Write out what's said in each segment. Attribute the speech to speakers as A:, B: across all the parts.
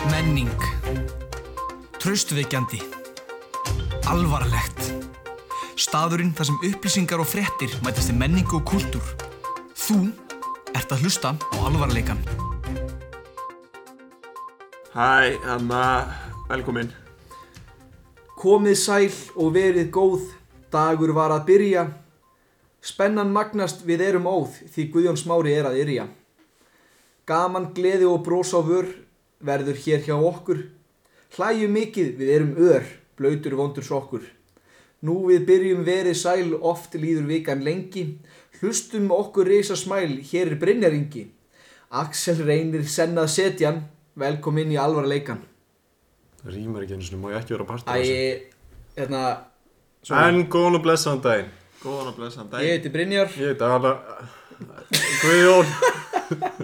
A: Spenning Traustvekjandi Alvarlegt Staðurinn þar sem upplýsingar og fréttir mætast í menningu og kúltúr Þú ert að hlusta á alvarleikan
B: Hæ, Anna, velkomin.
C: Komið sæl og verið góð, dagur var að byrja. Spennan magnast við erum óð því Guðjón Smári er að yrja. Gaman, gleði og brós á vör verður hér hjá okkur. Hlæju mikið við erum ör, blöytur vondur sokkur. Nú við byrjum verið sæl, oft líður vikan lengi. Hlustum okkur reysa smæl, hér er Brynjaringi. Axel reynir sennað setjan, velkomin í alvarleikan.
D: Það rýmar ekki einu sinni, má ég ekki vera að parta
C: Æ, hérna,
D: En góðan og blessaðan daginn.
B: Góðan og blessan dag.
C: Ég heiti Brynjar
D: Ég heiti Anna... Guðjón,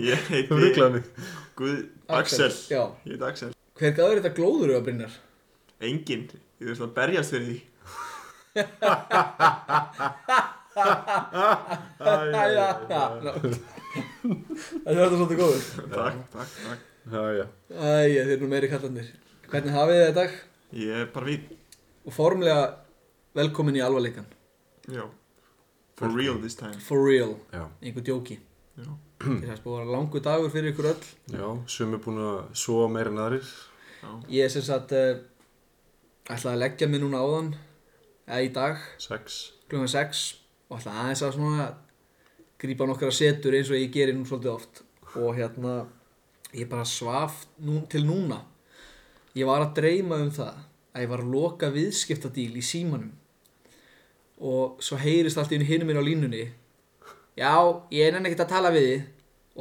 B: Ég
D: þú
B: heiti
D: rugglaði mig.
B: Guð... Axel.
C: Já,
B: Ég heiti Axel.
C: hver gaf þér þetta glóður auðvitað Brynjar?
B: Engin. Ég veist að berjast fyrir því.
D: Æ,
C: Æja, já, já Þetta var þetta svolítið góður
B: Takk, takk, takk.
D: Já, já.
C: Æja, þið eru nú meiri kallandir Hvernig hafið þið þetta í dag?
B: Ég er bara vín.
C: Og formlega velkomin í alvarleikan
B: Já. For real this time.
C: For real,
D: Já,
C: einhver djóki
B: Já.
D: Hmm.
C: Þetta er búið að vera langur dagur fyrir ykkur öll
D: já, sum er búin að sofa meira en aðrir.
C: Ég er sem sagt uh, ætlaði að leggja mig núna áðan eða í dag
D: Sex.
C: klukkan 6 og ætla aðeins að svona grípa nokkra setur eins og ég geri nú svolítið oft og hérna ég bara svaf nú, til núna ég var að dreyma um það að ég var að loka viðskiptadíl í símanum og svo heyrist allt í einu hinum minn á línunni já, ég nenni ekkert að tala við þið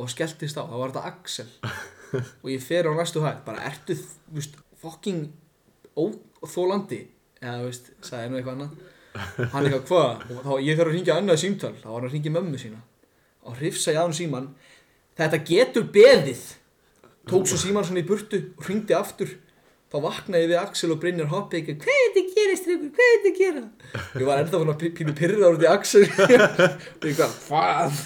C: og skelltist á, þá var þetta Axel og ég fer á næstu hæð bara ertu, þú veist, fucking óþólandi eða, þú veist, sagði nú eitthvað annað hann eitthvað hvað og þá ég þarf að ringja annað símtal þá var hann að ringja mömmu sína og hrifsa ég á hann síman þetta getur beðið tók svo síman svona í burtu og ringdi aftur þá vaknaði ég við Axel og Brynjar hoppa ekki hvað er þetta að gera strengur, hvað er þetta að gera ég var ennþá svona pí- pínu pyrra út í Axel og ég hvað, hvað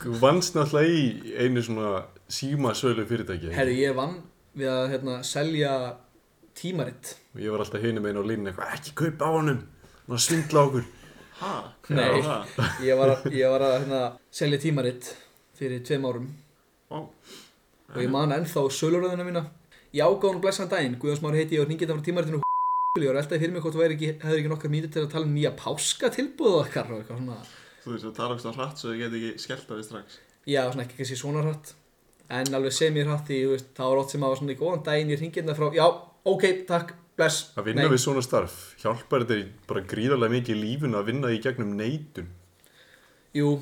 D: Þú vannst náttúrulega í einu svona símasölu fyrirtæki.
C: herri ég vann við að hérna, selja tímaritt
D: Og ég var alltaf hinum einu á línni eitthvað, ekki kaupa á honum. Hann er að svindla okkur.
B: Ha?
C: Nei.
B: Já, það.
C: ég var að, ég var að hérna, selja tímaritt fyrir tveim árum
B: Vá.
C: og ég man ennþá söluröðuna mína ég ágáðan og blessaðan daginn Guðjón Smári heiti ég og hringið það frá tímaritinu ég var alltaf fyrir mig hvort þú væri ekki, hefur ekki nokkar mítið til að tala um nýja páska tilbúðu okkar og eitthvað svona
B: Þú veist að tala um það hratt svo þið getur ekki skellt á því strax.
C: já, svona ekki kannski svona hratt en alveg sem ég hratt því, þú veist, þá var ótt sem að var svona í góðan daginn ég hringið það frá, já, ok, takk, bless
D: Að vinna við svona starf, hjálpar þetta bara gríðarlega mikið í lífun að vinna í gegnum neitun.
C: jú,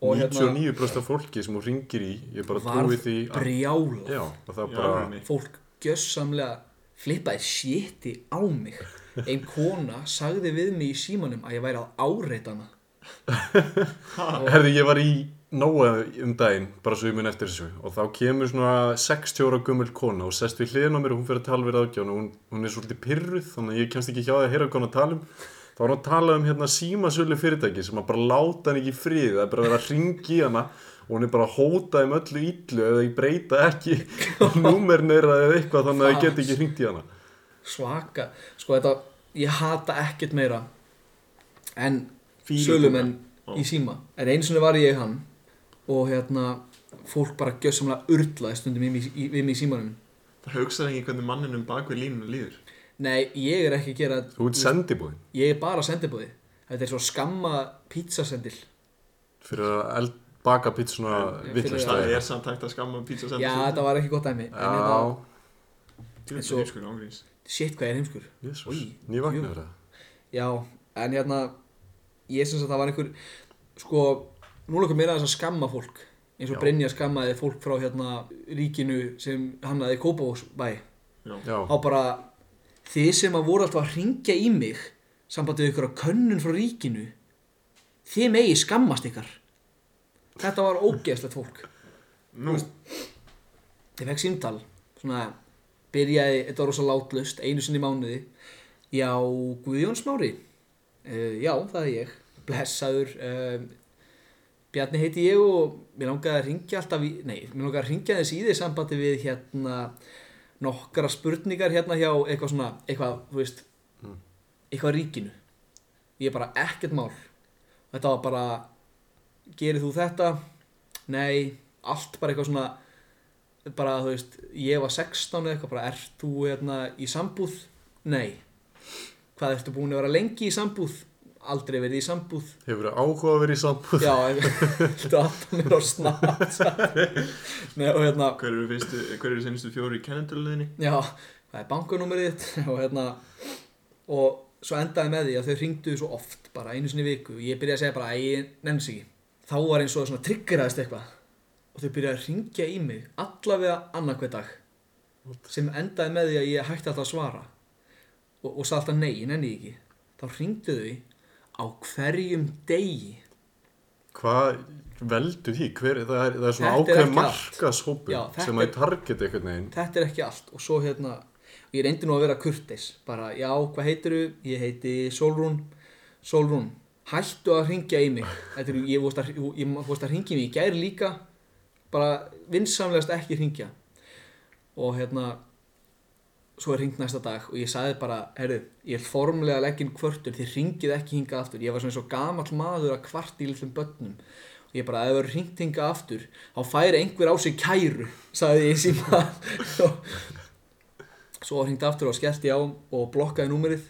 C: og hérna-
D: 99% af fólki sem þú ringir í, ég bara trúi því
C: varð
D: að...
C: brjála
D: Já, og það
B: Já,
D: bara...
B: henni.
C: fólk gjössamlega flippaði séti á mig ein kona sagði við mig í símanum að ég væri að áreita hana
D: Herði, ég var í Nóa um daginn, bara svo ég mun eftir þessu og þá kemur svona 60 ára gummul kona og sest við hliðin á mér og hún fyrir að tala við ráðgjána og hún, hún er svolítið pyrruð þannig að ég kemst ekki hjá það að heyra hvað hann að tala um þá var hann að tala um hérna símasölu fyrirtæki sem að bara láta hann ekki í frið það er bara að vera að ringi hana og hún er bara að hóta um öllu illu eða ég breyta ekki númerin eða eitthvað þannig að ég get ekki ringt í hana
C: svaka sko þetta, ég hata ekkert meira en
B: Fílukúka.
C: sölumenn
B: Ó.
C: í síma en eins og var ég hann og hérna fólk bara gjössamlega urlaði stundum í, mig- í, við mig í símanum
B: Það hugsaði ekki hvernig manninum bak við línunum líður.
C: nei, ég er ekki að gera
D: Þú ert sendibúðin
C: ég er bara sendibúði þetta er svo skamma pizzasendil
D: fyrir að eld, baka pítsuna vitlaust
B: Það
D: eða
B: er samt hægt að skamma pizza sem
C: já, þetta var ekki gott dæmi en
D: eitthvað.
C: þetta,
B: Þú veist
C: svo-
B: það er sko ángríns.
C: shit hvað ég er heimskur
D: Já, jésús,
C: Oj,
D: nývagnar það
C: já, en hérna ég syns að það var einhver sko, nú lukum mér aðeins að skamma fólk eins og
D: Já.
C: Brynja skammaði fólk frá hérna ríkinu sem hann aði Kópavóksbæ
B: Já.
D: Já,
C: þá bara þið sem að voru alltaf að ringja í mig sambandið ykkur að könnun frá ríkinu þið megi skammast ykkar þetta var ógeðslegt fólk
B: Nú,
C: ég fekk símtal svona byrjaði, þetta var rosa látlust einu sinni í mánuði já, Guðjón Smári uh, já, það er ég blessaður um, Bjarni heiti ég og mér langaði að ringja alltaf í, nei, mér langaði að ringja þess í því sambandi við hérna nokkra spurningar hérna hjá eitthvað svona, eitthvað, þú veist eitthvað ríkinu ég er bara ekkert mál þetta var bara, gerir þú þetta nei, allt bara eitthvað svona bara, þú veist, ég var 16 eða eitthvað, bara, ert þú hérna í sambúð? Nei hvað ertu búin að vera lengi í sambúð? Aldrei verið í sambúð
D: Hefur það áhuga að vera í sambúð?
C: Já, þetta aftan mér á snart Nei, og hérna
B: Hver eru, fyrstu, hver eru senstu fjóri í kennetöluðinni?
C: Já, hvað er bankanúmerið þitt og hérna og svo endaði með því að þau ringdu svo oft bara einu sinni í viku og ég byrjaði að segja bara að ég nefns ekki þá var eins og svona triggeraðist eitthvað og þau byrjaði að ringja í mig allavega annarkveð dag sem endaði með því að ég hætti alltaf að svara og, og sagði alltaf nei, ég nenni því ekki þá ringdu þau á hverjum degi
D: Hvað veldur því? Hver, það, er, það er
C: Þetta er
D: svona ákveð
C: ekki allt.
D: markashópur
C: Já, þetta
D: sem að
C: er-
D: ég targeti einhvern veginn
C: þetta er ekki allt og svo hérna og ég reyndi nú að vera kurteis bara já, hvað heitir þú? Ég heiti Solrún Solrún, hættu að ringja í mig þetta er, ég fórst að, ég fórst að ringja í mig í gær líka bara vinsamlegast ekki ringja og hérna svo er ringt næsta dag og ég sagði bara herru, ég er formlega að leggja inn kvörtun þið ringið ekki hinga aftur, ég var svona eins og gamall maður að kvart í litlum börnum og ég bara, ef það verður ringt hinga aftur þá færi einhver á sig kæru sagði ég í síma og svo var hringt aftur og skellti ég á og blokkaði númerið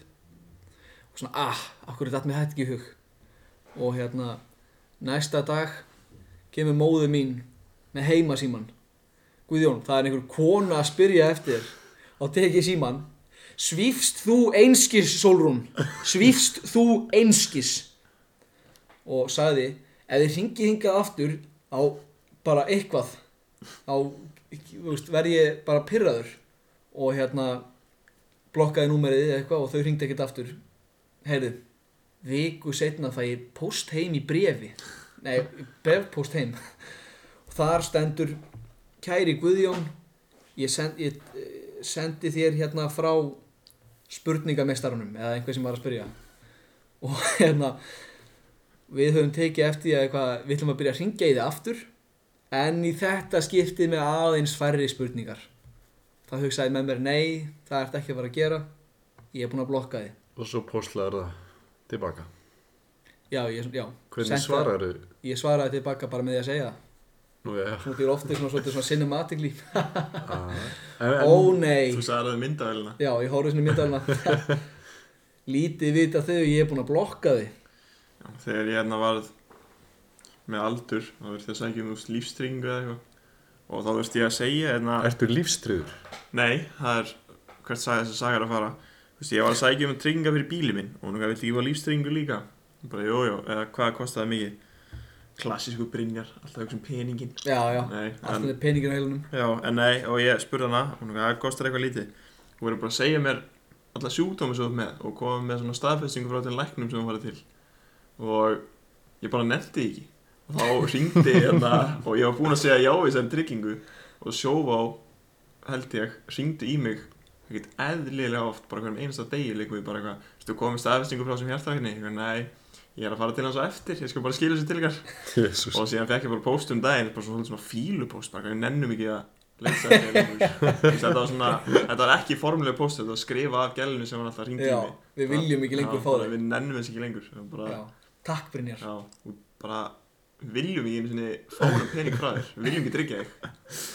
C: og svona, ah, akkur er þetta mér hætti ekki í hug og hérna næsta dag kemur móðu mín með heimasíman Guðjón, það er einhver kona að spyrja eftir þér. þá tek ég síman svífst þú einskis Solrún svífst þú einskis og sagði ef þið ringið hingað aftur á bara eitthvað á, þú veist, verð ég bara pyrraður og hérna blokkaði númerið eða eitthvað og þau ringdi ekkert aftur heyrðu, viku setna fæ ég post heim í brefi nei, brefpost heim og þar stendur kæri Guðjón ég, send, ég eh, sendi þér hérna frá spurningamestarunum eða einhver sem var að spyrja og hérna við höfum tekið eftir því að eitthvað, við ætlum að byrja að ringja í þið aftur en í þetta skiptið með aðeins færri spurningar það hugsaði með mér nei, það ert ekki að fara að gera ég er búin að blokka þið
D: og svo postlaður það tilbaka.
C: já, ég, já,
D: Hvernig
C: Sent það-
D: svarar þau?
C: ég svaraði tilbaka bara með því að segja það.
D: Nú, já, Ah.
C: þú býr ofta svona, svona, svona cinematically
D: en, en,
C: ó nei
B: Þú sagði að það myndaðilina.
C: Já, ég horfði svona í myndalina Lítið vita þau, ég er búinn að blokka þau
B: Þegar ég hérna varð með aldur, þá verður þess að ekki um þú veist, lífstryggingu eða eitthvað. Og þá veist ég að segja hérna,
D: ertu lífstriður?
B: nei, það er hvert sagði þess að saga er að fara. Þú veist, ég var að sækja um trygginga fyrir bílið minn og hún vildi ekki fá lífstryggingu líka. Ég Bara, jú, jú, eða hvað kostaði mikið? Klassísku brinjar, alltaf eitthvað sem peningin.
C: Já, já,
B: Nei,
C: allt með peningin á heilunum
B: Mm, Já, en nei, og ég spurði hana, hún veið að kostar eitthvað lítið. Hún verið bara að segja mér alla sjúkdómi sem þú ert með og koma með svona staðfestingu frá til læknum sem hún farið til. Og ég bara nefndi ekki. Og þá ringdi ég hérna og ég var búinn að segja já í þessari tryggingu og sjóvá, held ég, ringdi í mig ekkert eðlilega oft, bara hverjum einasta degi líkum við bara eitthvað, veistu, komið staðfestingu frá sem hjartalækni, ég veit, nei, ég er að fara til hans á eftir, ég skal bara skila þessu til ykkar
D: Jésús.
B: og síðan fekk ég bara post um daginn bara svona, svona fílupóst, bara við nennum ekki að leysa þetta lengur. Þú veist, þetta var svona, þetta var ekki formulega post þetta var skrifa af gælunni sem hann alltaf ringdi
C: Já,
B: í mig
C: við viljum ekki lengur
B: Já,
C: fá
B: bara,
C: þau
B: við nennum þess ekki lengur Það var bara,
C: Já, takk Brynjar
B: já, og bara við viljum ekki einu sinni fá hann pening frá þér við viljum ekki tryggja þig
D: Ef-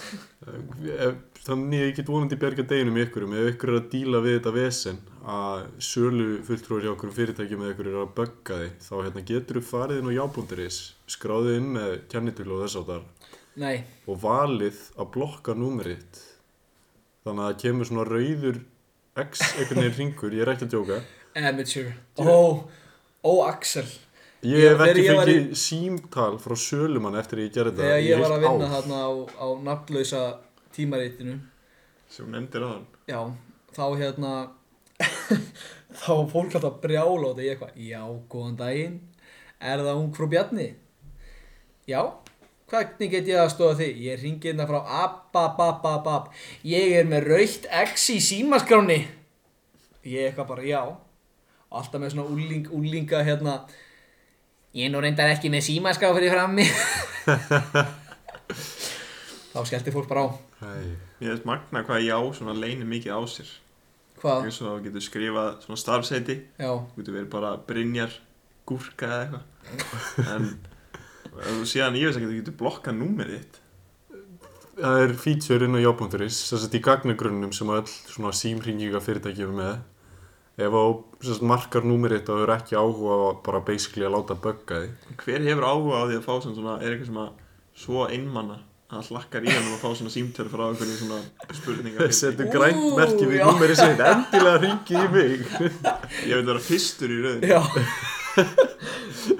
D: Eh, Þannig ég get vonandi bjarga deginum í ykkurum ef ykkur er að díla við þetta vesen að sölu fulltrúar hjá okkur fyrirtækjum eða ykkur er að bögga því þá hérna, getur þú farið inn á jábúndiris skráðið inn með kennitölu og þess á þar
C: Nei,
D: og valið að blokka númerið þannig að það kemur svona rauður x einhvern veginn ringur, ég er ekki að djóka
C: amateur Ó, ó Axel
D: ég
C: Ég-
D: hef
C: þegar
D: ekki
C: ég var í-
D: fengið símtal frá sölumann eftir að ég gerði þetta
C: Þegar
D: í
C: ég var
D: heilt
C: að vinna
D: ár.
C: þarna á, á nafnlausa tímaritinu
B: sem hún nefndir á hann
C: Já, þá hérna þá var fólk alltaf að brjála og þetta ég eitthvað, já, góðan daginn er það hún frú Bjarni? Já, hvernig get ég að stóða þig? Ég ringi hérna frá ababababab, ég er með raukt X í símaskráni ég eitthvað bara, já alltaf með svona úling, úlinga hérna ég er nú reyndar ekki með símaskrá fyrir frammi þá skellti fólk bara á
D: Æ,
B: Ég veist magna hvað ég á svona leini mikið á sér
C: hvað,
B: eins og getur skrifað svona starfseiti
C: já,
B: getur verið bara Brynjar Gúrka eða eitthvað en ef þú síðan ég veist ekki að þú getur blokkað númerið þitt
D: það er feature inn á job.is þess að í gagnagrunnum sem öll svona símringinga fyrirtæki er með ef á sem sagt, markar númerið þá er ekki áhuga á að bara basically að láta bögga því
B: hver hefur áhuga á því að fá svona, svona er eitthvað sem að svo einmanna að hlakkar í hann og fá svona símtölu frá einhverju svona spurningar
D: setur
C: Ú,
D: grænt merki við
C: já.
D: númerið sitt endilega ringi í mig
B: ég veit vera fyrstur í rauðin
C: já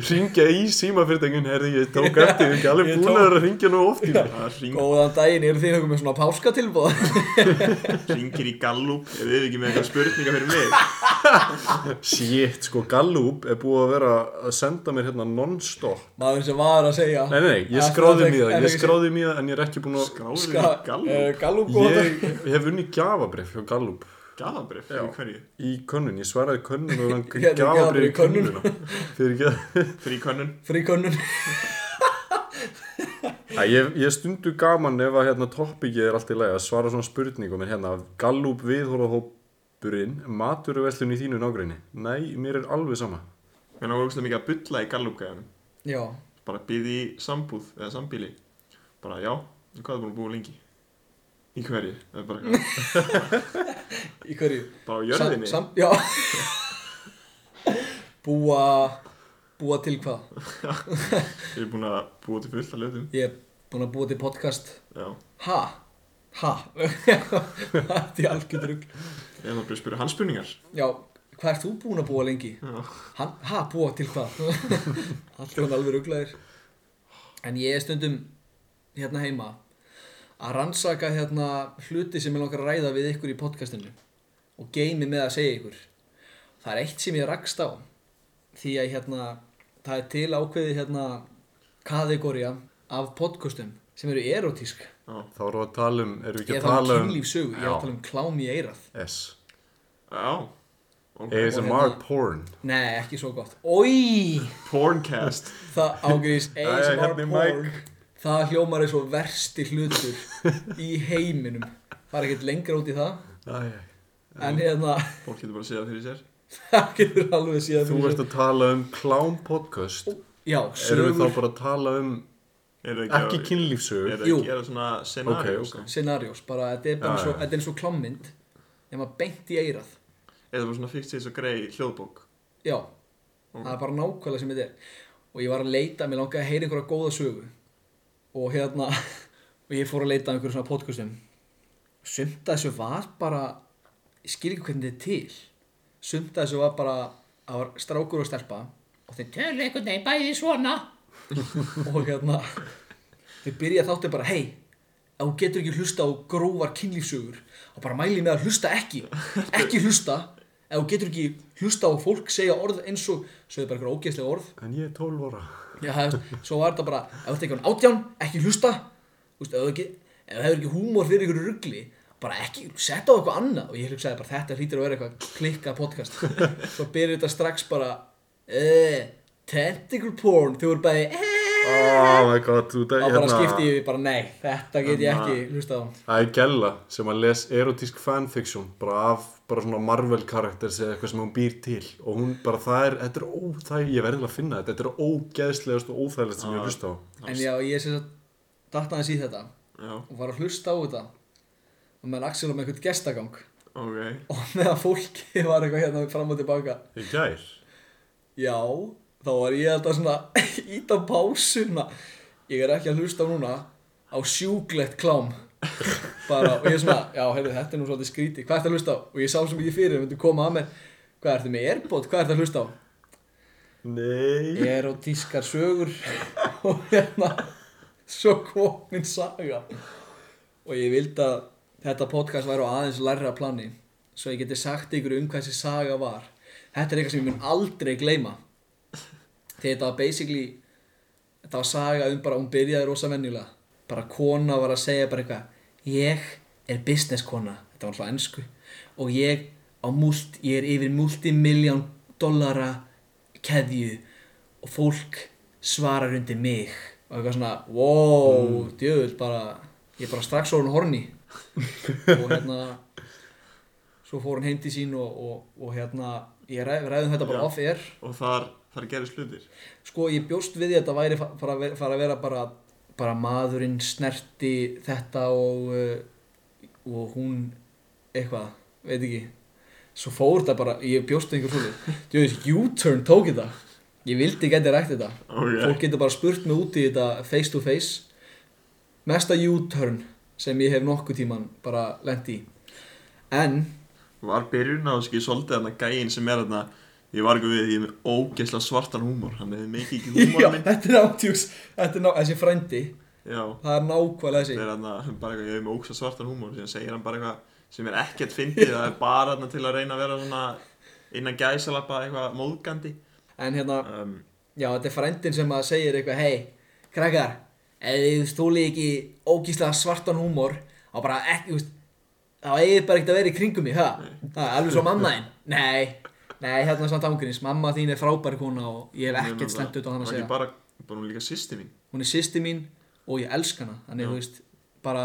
D: ringja í símafyrirtækun herði ég tók eftir því, ekki alveg
C: Ég
D: búin að vera að ringja nú oft í mig
B: það hring,
C: góðan daginn, eru þið einhverjum með svona páskatilbóð
B: ringir í gallup ef þið ekki með eitthvað spurningar fyrir mig
D: Shit, sko Gallup er búið að vera að senda mér hérna non-stop
C: maður sem var að segja
D: Nei, nei, nei, ég skráði mér það, ég skráði mér það en ég er ekki búin að
B: skráður í gallup
C: Gallup
D: Ég hef unni gjafabrif hjá Gallup
B: gafabrif
D: Já.
B: fyrir hverju
D: í könnun, ég svaraði könnun og hann
C: Hérna, gjafabréf
D: gjafabrif
C: í
D: í könnuna fyrir ekki
B: fyrir könnun
C: fríkönnun
D: að ég, ég stundu gaman ef að hérna toppikið er allt í lagi að svara svona spurningum en hérna Gallup viðhorahópurinn maturverslun í þínu nágrinni nei, mér er alveg sama
B: Mér náður ógustlega mikið að bulla í gallupgæðanum
C: já,
B: Bara býði í sambúð eða sambíli Bara já, en hvað er búin að búa lengi? Í hverju? Eða bara, hvað?
C: í hverju
B: bara á jörðinni?
C: sam, sam, já búa búa til hvað
B: Ég er búin að búa til fullt af lötum
C: ég er búin að búa til podcast
B: Já,
C: ha, ha þetta er algjör drugg
B: ég er bara að spyrja hans spurningar
C: já, hvað ert þú búin að búa lengi
B: Já,
C: Hann, ha, búa til hvað? Allt er hann alveg rugglaðir. En ég er stundum hérna heima að rannsaka hérna hluti sem ég langar að ræða við ykkur í podcastinu og geimi með að segja ykkur. Það er eitt sem ég rakst á því að hérna það er til ákveði hérna kategória af podcastum sem eru erotísk.
B: já
D: þá erum við að tala um,
C: Ég
D: erum við
C: er
D: ekki að
C: það um
D: tala um
C: kynlífsögu, ég er
D: Já.
C: að tala um klám í eirað.
D: S
B: Já, ok
D: ASMR porn
C: Nei, ekki svo gott. Ói!
B: Porncast
C: Það ágrís
D: Æ,
C: ASMR
D: hérna er
C: porn Það hljómar eins og versti hlutur í heiminum Það er ekkert lengra út í það
D: Æ,
C: En hérna,
B: Fólk getur bara að segja það fyrir sér
C: það getur alveg síðan
D: þú ert að tala um clown podcast
C: Já,
D: erum við þá
C: sögur,
D: bara að tala um
B: Eru
D: ekki
B: að-
D: kynlífsögur
B: Eru það
C: Jú.
B: að gera svona sko? scenarios
D: Ok, ok.
C: scenarios Bara, þetta er bara
D: Já,
C: eins og,
D: já.
C: þetta er eins og klámynd Ef maður beint í eirað
B: Eða bara svona fyrst eins og grei hljóðbók
C: Já, það er bara nákvæmlega sem þetta er Og ég var að leita, mér langaði að heyra einhverja góða sögu Og hérna Og ég fór að leita að einhverjum svona podcastum Sumt að þessu var bara Ég skil ekki hvernig þetta er til Sumt að þessu var bara Það var strákur og stelpa Og þeir tölu einhvern veginn bæði svona Og hérna Þeir byrja þáttið bara, hei Ef þú getur ekki hlusta á grófar kynlífsögur Og bara mæli með að hlusta ekki Ekki hlusta Ef þú getur ekki hlusta á fólk segja orð eins og Sögðu bara einhver ógeðslega orð
D: en ég er 12 ára
C: Já, það er- svo var þetta bara, ef þú tekur hann átján, ekki hlusta Þú veist, ef þú ekki, ef þú hefur ekki húmor fyrir ykkur rugli bara ekki, setja á eitthvað annað og ég hugsaði bara, þetta hlýtur að vera eitthvað klikka podcast svo byrjar þetta strax bara eh, tentacle porn þau voru bæði, eh
D: oh my god, þú hérna-
C: og bara skipti ég bara, nei, þetta get ég ekki hlusta á
D: það er Gella sem að les erotísk fanfiction bara af bara svona Marvel karakter eða eitthvað sem hún býr til og hún bara það er, þetta er óþæg ég verði að finna þetta, þetta er ógeðslegast og óþægilegast sem ég hef hlust á
C: en já, ég sem sagt datt aðeins í þetta
B: Já,
C: og var að hlusta á þetta og meðan Axel var með einhvern gestagang
B: ok
C: og meðan fólki var eitthvað hérna fram og tilbaka
D: í gær
C: Já, þá var ég alltaf svona ít á pásuna Ég er ekki að hlusta núna á sjúklegt klám bara, og ég er svona, já, heyrðu, þetta er nú svolítið skríti hvað ertu að hlusta á? Og ég sá svo mikið fyrir, myndi koma að mér hvað ertu með erbót, hvað ertu að hlusta á?
D: nei
C: Erotískar sögur og hérna svo kom minn saga og ég vildi að þetta podcast væri á aðeins lærra plani svo ég geti sagt ykkur um hvað þessi saga var þetta er eitthvað sem ég mun aldrei gleyma þegar þetta var basically þetta var saga um bara hún byrjaði rosa venjulega bara kona var að segja bara eitthvað ég er business kona þetta var alltaf ennsku og ég á múlt, ég er yfir multimiljón dollara keðju og fólk svarar undir mig og eitthvað svona wow, djöðul bara ég er bara strax orðin horni og hérna svo fór hann heim til sín og, og, og hérna ég ræð, ræðum þetta bara
B: Já.
C: off-air
B: og þar, þar gerist hlutir
C: sko ég bjóst við því að þetta væri fa- fara að vera, fara að vera bara, bara maðurinn snerti þetta og uh, og hún eitthvað, veit ekki svo fór þetta bara, ég bjóst við einhver svolítið þú veist, U-turn tók þetta ég vildi geti rækt þetta
B: ok,
C: fólk getur bara spurt mig út í þetta face to face mesta U-turn sem ég hef nokkuð tíman bara lent í en
B: var byrjun á þessu svolítið þarna gæinn sem er þarna ég var ekki við, ég er með ógeðslega svartan húmor hann hefði mikið ekki
C: já,
B: húmor minn
C: þetta er ántjús þetta er ná, þessi frændi,
B: já,
C: það er nákvæmlega þessi
B: þetta er þarna bara eitthvað, ég er með ógeðslega svartan húmor síðan segir hann bara eitthvað sem er ekkert fyndið það er bara þarna til að reyna að vera svona innan gæsalappa eitthvað móðgandi
C: en hérna,
B: um,
C: já, þetta er frændin sem að segir eitthvað, hei, krakkar ef þið stóli ekki ógíslega svartan húmor, þá bara ekki, þú veist, þá eigið bara ekkert að vera í kringum mig, ha? Það er alveg svo mamma þín nei, nei, hérna samt ángurins mamma þín er frábæri kona og ég hef ekkert slemt ut á hann að
B: Og
C: segja
B: ekki bara, bara hún er líka sýsti mín
C: hún er sýsti mín og ég elska hana þannig,
B: Já.
C: þú veist, bara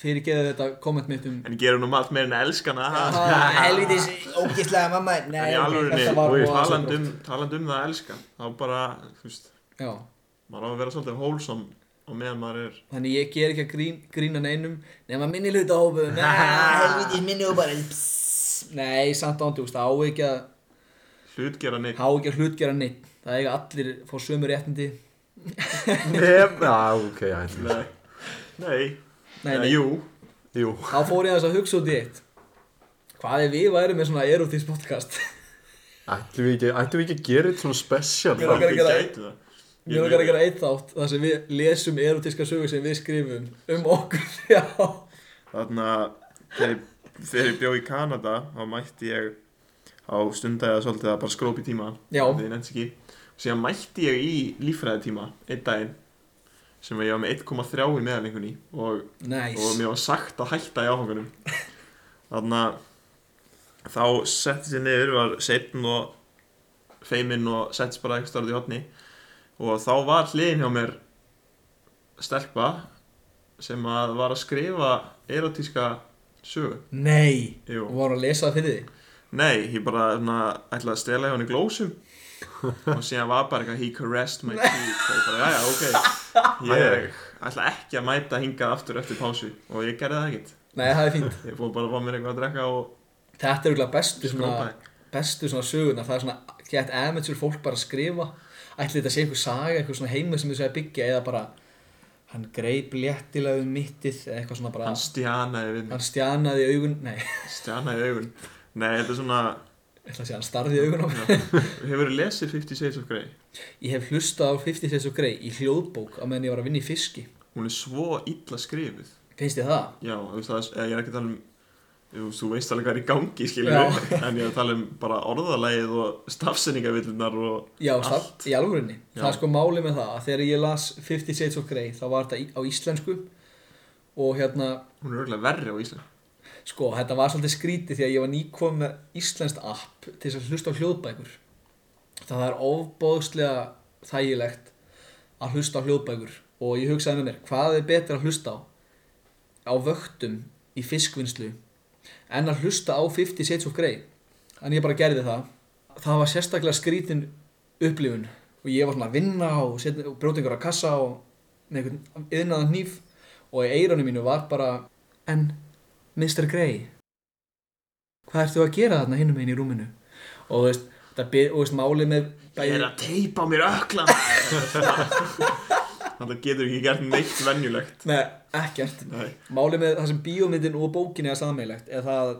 C: fyrirgeðu þetta komment mitt um
B: en gerum nú allt meir en elskana
C: "Ah, helvitis, ógíslega mamma nei,
B: en í
C: ok,
B: alvörinni,
C: þetta var
D: oj,
C: voða
B: taland um,
C: sjálfrátt.
B: taland um það að elska þá bara, þú veist,
C: já,
B: maður á að vera svolítið hólsom og meðan maður er
C: þannig ég ger ekki að grín, grína neinum nema minni hluta hófum helvitis minni og bara pss. nei, samt ándjúst, á ekki að
B: hlutgera neitt
C: á ekki að hlutgera neitt það eiga allir að fá sömu réttindi
D: Nefn, já, Ah, ok, já, þetta er-
B: nei, nei,
C: nei,
B: Eða,
C: nei,
B: jú
D: Jú,
C: þá fór ég aðeins að hugsa út í eitt hvað er við væri með svona erotísk podcast
D: ættum við ekki, ættum við ekki að gera eitt svona special
C: Ég er að
D: þá?
C: gera-
B: Við gætum það.
C: Ég vil ekki að gera eitt þátt þar sem við lesum erotíska sögur sem við skrifum um okkur, já.
B: þarna þegar ég- þegar ég bjó í Kanada þá mætti ég á stundæða svolítið að bara skrópi tíma
C: Já.
B: því ég nefnst ekki og síðan mætti ég í líffræði tíma einn daginn sem ég var með 1,3 í meðalengunni og
C: Næs.
B: og mér var sagt að hætta í áfangunum þannig að þá setti sér niður var setn og feiminn og settist bara eitthvað starfði í hotni og þá var hliðin hjá mér stelpa sem að var að skrifa erotíska sögu
C: Nei.
B: Jú.
C: Og voru að lesa það fyrir þig.
B: Nei, ég bara svona, ætlaði að stela hjá henni glósum og síðan var bara eitthvað he caressed my cheek og ég bara, já, ok ég ætla ekki að mæta hingað aftur eftir pásu og ég gerði það ekkert
C: Nei, það er fínt.
B: Ég fór bara að fá mér eitthvað að drekka og
C: Þetta er auðvitað bestu svona,
B: skrópaði.
C: bestu svona sögurnar. Það er svona, gett amateur fólk bara að skrifa. Ætli þetta sé einhver saga, einhver svona heima sem þið segja byggja eða bara, hann greip léttilega um mittið eða eitthvað svona bara,
B: Hann stjanaði við mig,
C: hann stjanaði í augun, nei,
B: stjanaði augun. Nei, þetta er svona,
C: ég ætla að segja, hann starði í augun á mig.
B: hefur þú lesið 50 Shades of Grey?
C: Ég hef hlustað á 50 Shades of Grey í hljóðbók á meðan ég var að vinna í fiski.
B: Hún er svo illa skrifið.
C: Finnst þið það?
B: Já, þú veist það, eða ég er ekki að tala um, þú veist, þú veist alveg hvað er í gangi, skiljum
C: Já.
B: við. En ég er að tala um bara orðalægið og stafsendingavillunar og
C: Já, það,
B: allt.
C: í alvörinni.
B: Já.
C: Það er sko máli með það að þegar ég las Fifty Shades of Grey þá var þetta í- á íslensku og hérna,
B: Hún er örgulega verri á Ísland.
C: sko, þetta var svolítið skrítið því að ég var nýkom með íslenskt app til þess að hlusta á hljóðbækur. Það er ofbóðslega þægilegt að hlusta á hljóðbækur og ég hugsaði með mér, hvað er betra að hlusta á? Á vöktum í fiskvinnslu en að hlusta á Fifty Shades of Grey. En ég bara gerði það. Það var sérstaklega skrítin upplifun og ég var svona að vinna og, setja- og brjóta einhverja kassa og með einhvern yðnaðan hníf og í eiranum mínu var bara En, Mr. Grey, hvað ertu að gera þarna hinum einn í rúminu? Og þú veist, það byrð, og þú veist, málið með
B: Ég er að teipa á mér öklan. Þannig getur ekki gert neitt venjulegt.
C: Nei, ekkert.
B: Nei.
C: Málið með það sem bíómyndin og bókin er sammeilegt er það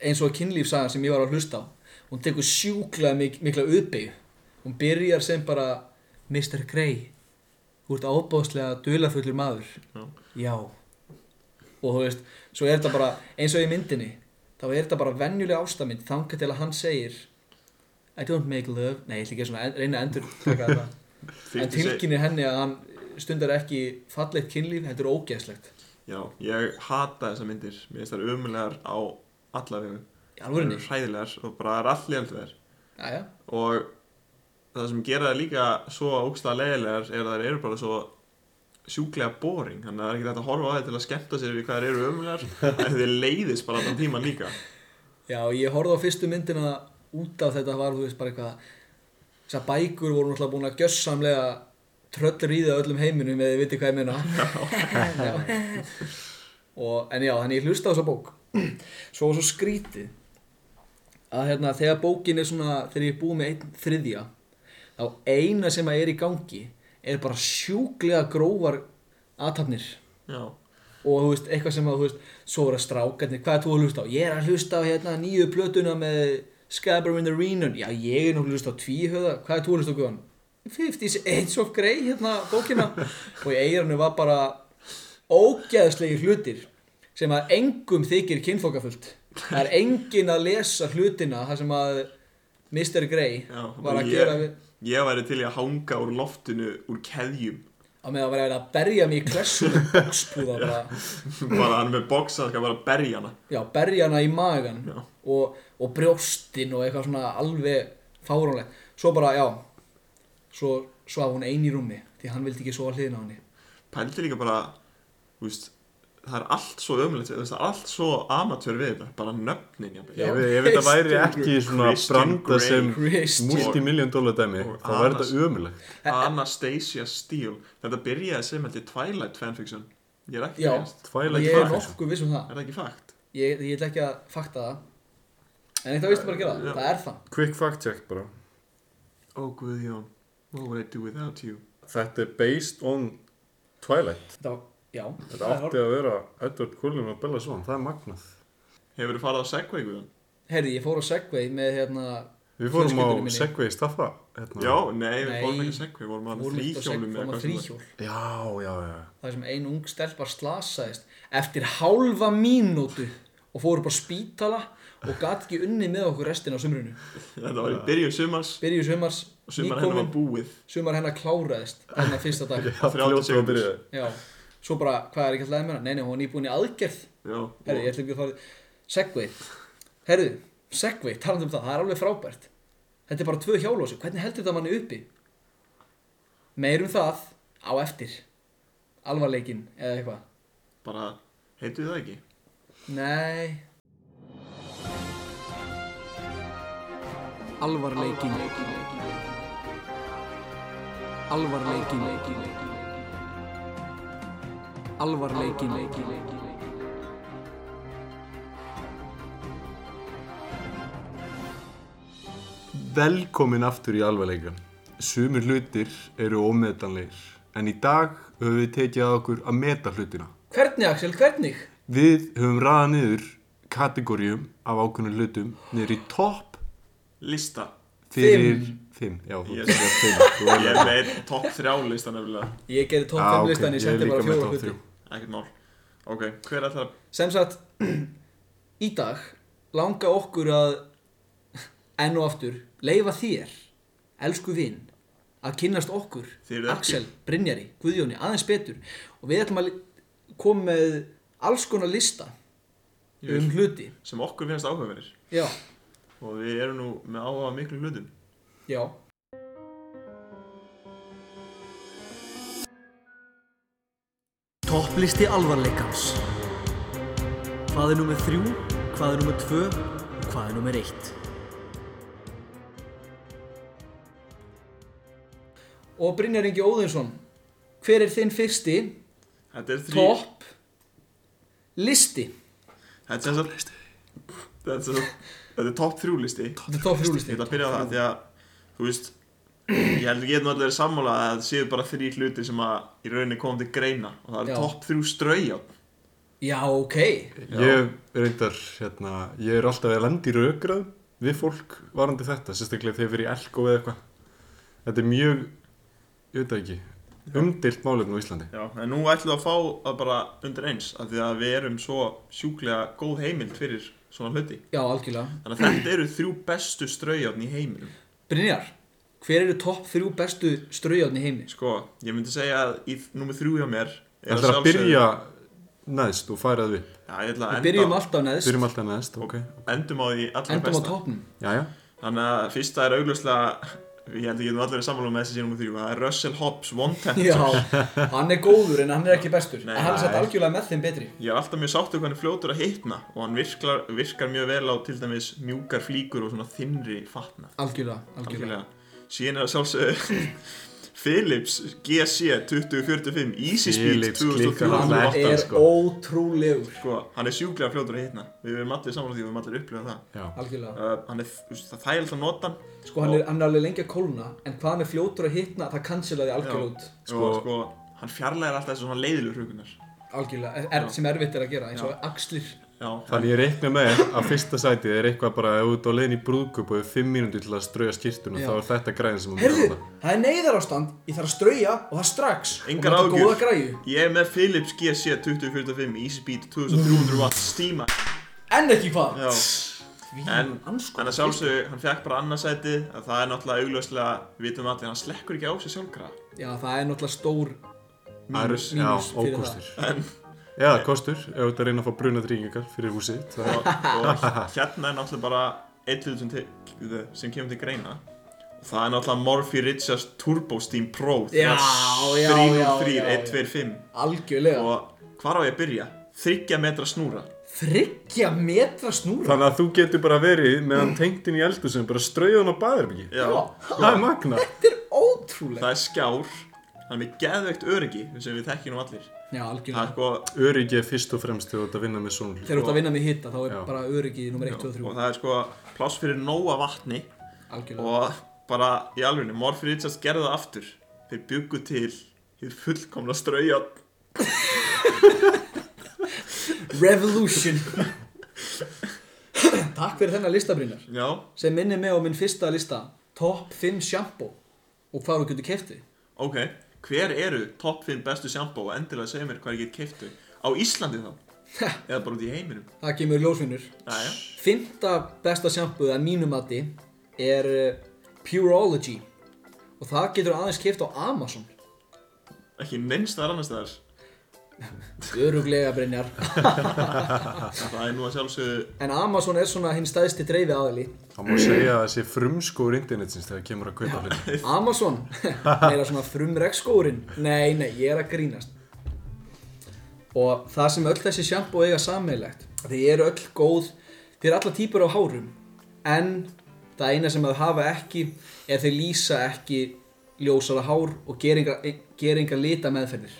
C: eins og kynlífsagan sem ég var að hlusta á hún tekur sjúklega mik mikla uppbyggju hún byrjar sem bara Mr. Grey þú ert ábáðslega dulafullur maður
B: Já.
C: já og þú veist, svo er þetta bara eins og í myndinni þá er þetta bara venjuleg ástamind þangað til að hann segir I don't make love nei, ég ætla ekki að svona en- reyna að endur þetta en
B: 50 Shades-
C: tilkynir henni að hann stundar ekki fallegt kynlíf, þetta er ógeðslegt
B: Já, ég hata þessar myndir Mér finnst þær ömulegar á alla vegu
C: í alvörinni
B: Þær eru Hræðilegar og bara er allir endur þær
C: Jæja.
B: Og það sem gera þær líka svo ógstlega leiðilegar er að þær eru bara svo sjúklega boring þannig að það er ekki þetta að horfa á þetta til að skemmta sér við hvað þær eru ömulegar en þið leiðist bara þann tíman líka
C: Já, ég horfði á fyrstu myndina út af þetta var, þú veist, bara eitthvað þessar bækur voru náttúrulega búin að gjössamlega tröllríða öllum heiminum eða þið viti hvað ég meina já. og, en já, þannig ég hlusta á þessa bók svo svo skrítið að hérna, þegar bókin er svona þegar ég er búið með einn þriðja þá eina sem að er í gangi er bara sjúklega grófar aðtapnir
B: Já,
C: og þú veist, eitthvað sem að, þú veist, svo voru að strákarnir, hvað er þú að hlusta á? Ég er að hlusta á hérna nýju plötuna með Scabber in the Renon, já ég er nú að hlusta á tvíhöða, hvað er þú að hlusta á guðan? 50's Age of Grey, hérna bókina og í eirannu var bara ógeðslegir hlutir sem að engum þykir kynfókafullt það er engin að lesa hlutina þar sem að Mr. Grey
B: já
C: var
B: og
C: að
B: ég,
C: gera við
B: Ég væri til í að hanga úr loftinu úr keðjum
C: á meðan að vera að berja mig í klessum með bókspúða bara
B: bara hann með boksa skal bara berja hana
C: já, berjana í magan
B: Já.
C: og, og brjóstin og eitthvað svona alveg fáránlegt svo bara, já svo svaf hún ein í rúmi því hann vildi ekki sofa hliðin á henni
B: Pældi líka bara, þú veist það er allt svo ömulegt, það er allt svo amatör við þetta, bara nöfnin jafnvel.
C: Já.
D: Ef, ef þetta væri ekki svona
B: Christian
D: branda
B: Grey.
D: sem
C: Christian.
D: multimiljón dólar dæmi,
B: Og
D: þá væri
B: Anas.
D: þetta ömulegt.
B: Anastasia Steele þetta byrjaði sem held ég Twilight fanfiction ég er ekki
C: Já.
B: veist
D: Twilight
C: ég er
D: Fanfiction.
C: nokkuð viss um
B: er
C: það
B: það ekki fakt
C: ég, ég ætla ekki að fakta það en eitthvað veistu bara að gera það,
B: Já.
C: það er það
D: Quick fact check bara.
B: oh Guðjón what would I do without you
D: Þetta er based on Twilight.
C: þetta, var- já,
D: Þetta
C: það er
D: átti að vera Edward Cullen og Bella Swan. Það er magnað.
B: hefur þú farið á Segway Guðjón
C: herri, ég fór á Segway með hérna
D: Við fórum á
C: Fjölskyldunni minni.
D: Segway Staffa. hérna.
B: já nei við
C: Nei.
B: fórum ekki á Segway vorum að
C: fórum út á Segway,
B: þrýhjólum
C: fórum á þrýhjól
D: Já, já, já.
C: það sem ein ung stelpa slasaðist eftir hálfa mínútu og fór upp á spítala og gat ekki unni með okkur restin á sumrunu
B: þetta var í byrju sumars
C: byrju sumars,
B: og sumar hennar var
C: nýkomin
B: búið
C: sumar hennar kláraðist hennar fyrsta dag
D: Það
B: Þrjátíu
D: fljóta að
B: sekúndur.
D: byrja.
C: já, svo bara, hvað er ekki alltaf með hana nei, nei, hún var nýbúin í aðgerð
B: já
C: herri, ég ætla ekki að fara segvei, herri, segvei, talandi um það það er alveg frábært þetta er bara tvö hjálosi, hvernig heldur þetta manni uppi meirum það á eftir alvarleikin eða eitthvað
B: bara heitu það ekki
C: Nei Alvarleikin Alvarleikin Alvarleikin
D: Velkomin aftur í alvarleikan. Sumir hlutir eru ómetanleir, en í dag höfum við tekið að okkur að meta hlutina.
C: Hvernig Axel, hvernig?
D: Við höfum raðað niður kategórium af ákveðnum hlutum niður í topp
B: lista
D: fyrir fimm. Já, þú
B: Yes.
D: yes. er fimm. Þú
B: ég
D: er
B: er með topp þrjá lista nefnilega
C: Ég gerði top 5 listan, ég sendi bara fjóra hluti
B: ekkert mál ok hver er það
C: Sem sagt, í dag langa okkur að enn og aftur leifa þér, elsku vinn að kynnast okkur,
B: Þið eruð ekki.
C: Axel, Brynjari, Guðjóni, aðeins betur og við ætlum að li- koma með alls konar lista
B: Ég
C: um hluti
B: sem okkur finnast áhugaverðir
C: Já,
B: og við erum nú með áhuga á miklum hlutum
C: já Topplisti alvarleikans Hvað er nummer þrjú, hvað er nummer tvö og hvað er nummer eitt? Og Brynjar Ingi Óðinsson, hver er þinn fyrsti
B: þetta er þrý
C: topp listi?
B: Þetta er sem sagt Þetta er sem sagt Þetta er topp þrjú listi Ég
C: Þetta er topp þrjú listi.
B: ætla að byrja á það því að Þú veist Ég held ekki eitthvað allir verið sammála að það séu bara þrjú hlutir sem að í rauninni komum til greina og það
C: Já.
B: er topp þrjú straujátt
C: Já, ok.
D: Ég er reyndar, hérna, ég er alltaf að lenda í raugrað við fólk varandi þetta, sérstaklega þegar við erum í elko eða eitthvað. Þetta er mjög, ég veit það ekki, umdilt málefn á Íslandi.
B: Já, en nú ætlum við að fá það bara undir eins af því að við erum svo sjúklega góð heimild fyrir svona hluti
C: Já, algjörlega.
B: Þannig að þetta eru þrjú bestu straujáttn í heiminum
C: Brynjar, hver eru topp þrjú bestu straujáðn í heimi?
B: Sko, ég myndi segja að í nummer þrjú hjá mér er
D: Það er að
B: sjálfsögðu-
D: byrja neðst og fara því.
B: Já, ég ætla
C: Við
B: að
C: byrjum
B: enda,
C: alltaf neðst,
D: Byrjum alltaf neðst, ok.
B: endum á því allra
C: endum á
B: besta
C: toppnum.
D: Jæja.
B: Þannig að fyrsta er augljóslega Ég held að getum allir að sammála með þessi sínum og þrjú Það er Russell Hobbs, one tap
C: Já, hann er góður en hann er ekki bestur
B: Nei.
C: En hann er satt algjörlega með þeim betri
B: Ég er alltaf mjög sáttur hvað hann er fljótur að hitna og hann virklar, virkar mjög vel á til dæmis mjúkar flíkur og svona þinnri fatna
C: Algjörlega, algjörlega.
B: Algjörlega Síðan er það sjálfsögðu Philips GC 2045 Easy Speed
D: Philips klikkar
C: Hann
B: 2023
D: allar. Allan,
C: er
D: sko.
C: ótrúlegur
B: Sko, hann er sjúklega fljótur að hitna Við verðum allir saman á því, við verðum allir að upplifa það
D: Já.
C: Algjörlega
B: uh, Hann er, þú veist, það er alltaf notan
C: Sko hann er, hann er alveg lengi að kólna En hvað hann er fljótur að hitna Það cancelaði algjörlega út
B: sko, og sko, hann fjarlæðir alltaf þessu svona leiðilur hrugunar
C: Algjörlega, er, sem erfitt er að gera Eins og axlir
B: Já,
D: Þannig ég reikna með að fyrsta sætið er eitthvað bara ef þú ert á leiðin í brúðköp og hefur fimm mínúti til að strauja skýrtuna
C: Já.
D: þá er þetta græðin sem hún
C: Herðu, það er neyðarástand Ég þarf að strauja og það strax Og
B: Engar
C: nota
B: áhyggjur.
C: góða græju
B: Ég er með Philips GC 2045 Easy Beat 2300 watt Steam
C: En ekki hvað
B: Já, en
C: Vín, anskot
B: þannig að sjálfsög hann fekk bara annarsæti að það er náttúrulega augljóslega, við vitum allir, hann slekkur ekki á sig sjálfkrafa
C: Já, það er náttúrulega stór
D: Mínus,
C: mínus
D: já,
C: fyrir
D: ókostur Já, kostur, ef þú ert að reyna að fá bruna trýningar fyrir húsið þitt, þá-
B: og hérna er náttúrulega bara einn hlut sem, til- eh, sem kemur til greina og það er náttúrulega Morphe Richards Turbo Steam Pro
C: Já, já, já,
B: 303
C: já, já.
B: 125
C: Algjörlega
B: og hvar á ég að byrja? 30 metra snúra
C: Þryggja metra snúra
D: Þannig að þú getur bara verið meðan tengtin í eldusum bara strauja hún á baðherbyggi
B: Já,
D: Það er magna
C: Þetta er ótrúlegt
B: það er skjár hann er með geðveikt öryggi sem við þekkjum nú allir
C: Já,
B: það er
C: algjörlega
B: sko
D: Öryggið er fyrst og fremst þegar þú ert að vinna með svona hlut
C: Þegar þú ert að vinna með hitta þá er
D: Já.
C: bara öryggi nummer 1, 2,
B: og
C: 3
B: það er sko pláss fyrir nóa vatni
C: Algjörlega
B: og bara í alvegni Morphe Richards gerði það aftur þeir byggu til hið fullkomna strauja
C: Revolution Takk fyrir þennan lista Brynjar
B: já
C: sem minnir mig á minn fyrsta lista Top 5 shampoo og hvað þú getur kefti
B: ok hver eru topp 5 bestu sjampó og endilega segja mér hvað ég get keiftu á Íslandi þá eða bara út í heiminum
C: Það kemur ljósvinnur
B: Jæja.
C: Fymta besta shampooð að mínum mati er eh, Pureology og það getur aðeins keft á Amazon
B: ekki minnst þar annars þar
C: Öruglega Brynjar
B: það er nú að sjálfsögðu
C: En Amazon er svona hinn stæðsti dreifi aðali
D: Það má segja að það sé frumskóður internetsins þegar kemur að kaupa hlut
C: Amazon, meira svona frumregskórin Nei, nei, ég er að grínast Og það sem öll þessi sjampo eiga sammeilegt Þið eru öll góð, þið eru alla típur af hárum En það eina sem þau hafa ekki Er þau lýsa ekki ljósara hár Og geringar lita meðferðir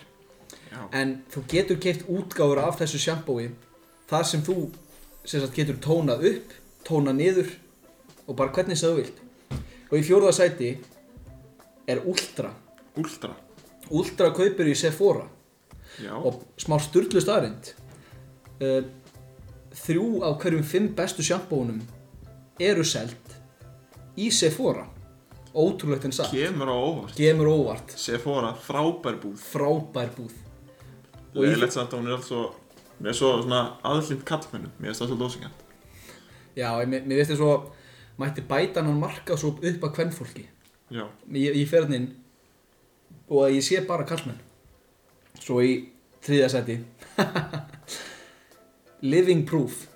B: Já.
C: En þú getur keift útgáfur af þessu sjampói Þar sem þú sem sagt, getur tónað upp, tónað niður Og bara hvernig sem þú vilt Og í fjórða sæti er Ultra
B: ultra
C: Ultra kaupir í Sephora
B: já
C: og smá styrlu staðrind uh, þrjú af hverjum fimm bestu sjampónum eru seld í Sephora ótrúlegt en satt
B: kemur á óvart
C: gemur óvart,
B: Sephora frábær búð
C: frábær búð Og í-
B: leiðilegt samt að hún er alltaf með svo svona aðlind kallmennu mér finnst það svolítið ósengjant
C: já, ég- mér mér veist þér svo mætti bæta hann marka svo upp að kvennfólki
B: já
C: ég, ég fer hann inn og að ég sé bara kallmenn svo í þriðja seti Living Proof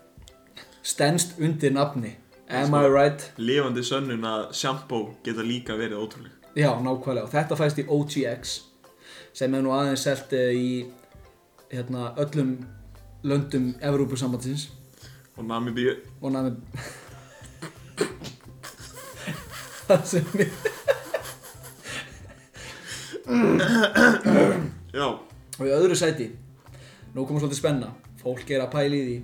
C: stendst undir nafni Am I right?
B: lifandi sönnun að sjampó geta líka verið ótrúleg
C: Já, nákvæmlega og þetta fæst í OGX sem er nú aðeins selt eh, í hérna, öllum löndum Evrópusambandsins
B: og Namibíu
C: og náðum það sem við
B: já,
C: Og í öðru sæti, nú komum svolítið spenna, fólk er að pæla í því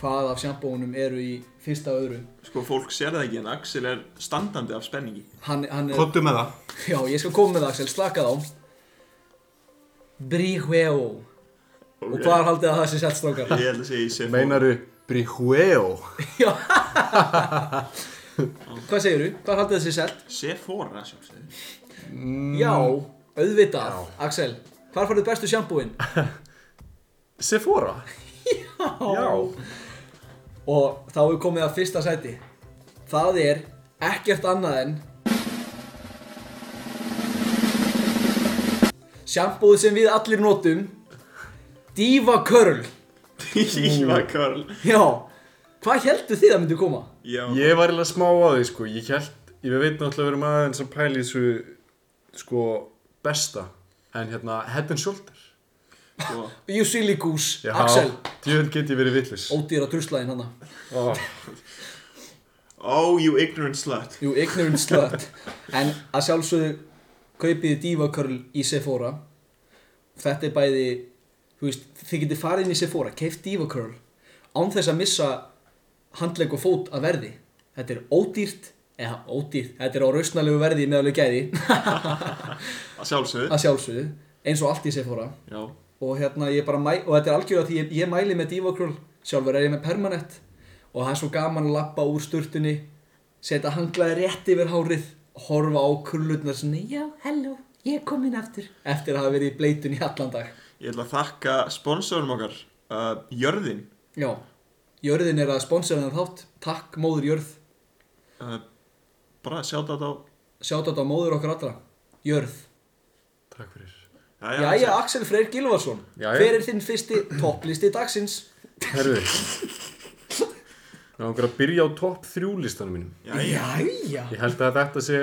C: hvað af sjampónum eru í fyrsta og öðru.
B: sko fólk sér það ekki en Axel er standandi af spenningi
C: Hann, hann er,
D: Kottu með það
C: já ég skal koma með það Axel, slaka þá. Brihueo. Og hvað er haldið að það sé selt strákar?
B: ég held að segja í Sephora
D: Meinaru Brihueo
C: Já. hvað segirðu? Hvað er haldið að það sé selt?
B: Sephora sjálfsögðu
C: Já, auðvitað, Axel. Hvar farið bestu sjampóin?
D: Sephora Já
C: Og þá er komið að fyrsta sæti. Það er ekkert annað en Sjampóð sem við allir notum Diva Curl
B: Diva Curl
C: Já, hvað heldur þið að myndi koma?
B: já,
D: Ég var eiginlega smá á því sko Ég held ég veit náttúrulega við erum aðeins að pæla í þessu sko besta en hérna Head and Shoulder
B: Sko,
C: You silly goose, Axel
D: djöðl get ég verið villis
C: Ódýra druslaðin hann
D: oh.
B: oh you ignorant slut
C: Jú, ignorant slut En að sjálfsögðu kaupið divakörl í Sephora Þetta er bæði þú veist, Þið getið farið inn í Sephora Keift divakörl Án þess að missa handleg og fót að verði Þetta er ódýrt eða ódýrt, þetta er á rausnalegu verði meðalegu gæði
B: að sjálfsögðu
C: að sjálfsögðu eins og allt í Sephora
B: já,
C: og hérna ég bara mæ, og þetta er algjörða því ég, ég mæli með divakról, sjálfur er ég með permanent og það er svo gaman að lappa úr sturtunni setja hanglaði rétt yfir hárið horfa á krullutnar svona já, hello, ég er komin aftur eftir að hafa verið í bleitun í allan dag
B: ég ætla að þakka sponsorum okkar uh, Jörðin
C: já, Jörðin er að sponsora þennan þátt takk móður Jörð,
B: uh, bara sjá þetta á
C: sjátt á móður okkar allra Jörð,
D: takk fyrir
B: Jæja,
C: jæja Axel Freyr Gilvarsson
D: Jæja.
C: hver er þinn fyrsti topplisti dagsins?
D: herðu ég langar að byrja á topp þrjú listanum mínum
B: Jæja,
C: jæja
D: ég held að þetta sé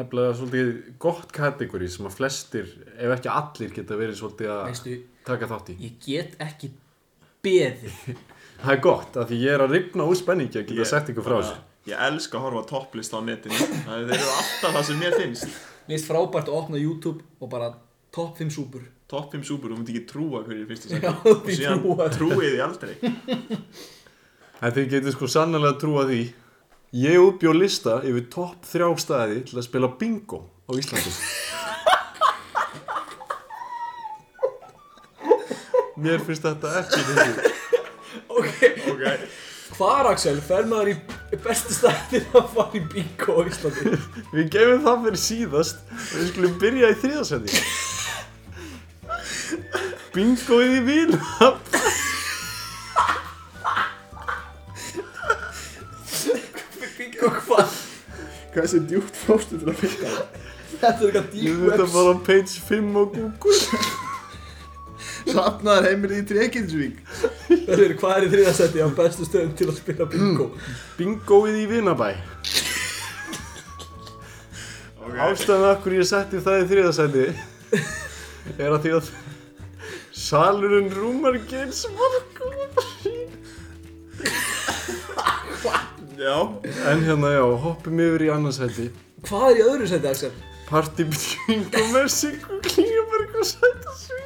D: nefnilega svolítið gott kategóri sem að flestir ef ekki allir geta verið svolítið að
C: Veistu,
D: taka þátt í
C: ég get ekki beðið
D: það er gott af því ég er að ripna úr spenningi að geta
B: Ég-
D: sett ykkur frá þessu
B: ég elska að horfa á topplist á netinu Það- þeir eru alltaf það sem mér finnst
C: Mér finnst frábært að opna YouTube og bara topp 5 súpur
B: topp 5 súpur, þú myndi ekki trúa hverju er fyrst
C: Já,
B: í sæti og
C: því
B: síðan
C: trúa.
B: trúið því aldrei
D: En þið getur sko sannlega að trúa því Ég uppjó lista yfir topp þrjá staði til að spila bingo á Íslandi Mér finnst þetta ekki fyndið.
B: ok,
C: Hvar Axel, fer maður í bestu staðin að fara í bingo á Íslandi
D: Við gefum það fyrir síðast og við skulum byrja í þriðasendi Bingoið í vinahöfn
C: Bingo hvað?
B: hversu djúpt fórstu til að fyrsta
C: Þetta er eitthvað
D: Ég
C: deep
D: veit
C: webs
D: að bara á page 5 og Google
B: safnaðar heimilið í Trekindsvík
C: Það eru hvað er í þriðasetti á bestu stöðum til að spila bingo
D: Bingoið í vinabæ
B: ok,
D: Ástæðan af hverju ég setti það í þriðasæti er að því að salurinn rúmar geins
B: já,
D: En hérna já, hoppum yfir í annarsæti
C: Hvað er í öðru seti Axel?
D: Party between Commercial Klingaberg og Sætasvín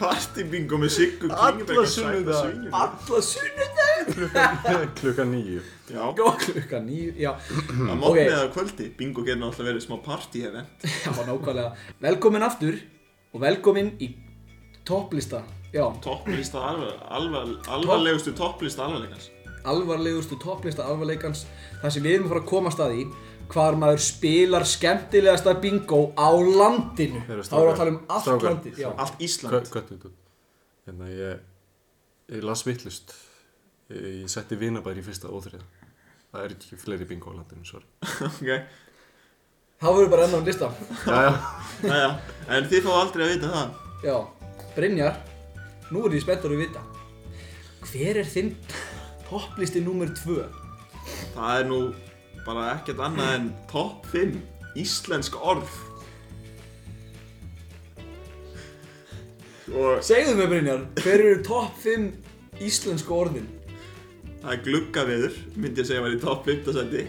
B: party bingo með Siggu
D: Alla
B: Klingeberg og Sæta
D: sunnudaga.
B: Svín
C: Alla sunnudaginn
D: Klukka nýju
B: já,
C: Klukka nýju, já,
B: að mótni eða að kvöldi bingo getur náttúrulega verið smá party event
C: já, nákvæmlega Velkomin aftur og velkomin í topplista Já,
B: topplista alvar- alvar- alvarlegustu topplista alvarlegans
C: alvarlegustu topplista alvarleikans þar sem við erum að fara að koma stað í hvar maður spilar skemmtilegasta bingo á landinu þá
D: Heyrðu,
C: erum
D: strákar,
C: við að tala um allt
D: strákar,
C: landið já.
B: allt Ísland
D: Kvöttu þetta Hérna ég, ég las vittlust Ég setti vinabæri í fyrsta óþriða Það er ekki fleiri bingo á landinu, sorry
B: okay.
C: þá verður bara ennum lista
D: Jæja,
B: Jæja, en þið fá aldrei að vita það
C: já. Brynjar, nú er ég spenntur að vita hver er þinn topplisti númer 2
B: það er nú bara ekkert annað en top 5 íslensk orð og
C: segðu mig Brynjar, hver eru topp 5 íslensku orðin
B: það er gluggaveður myndi ég segja var í top 5 seti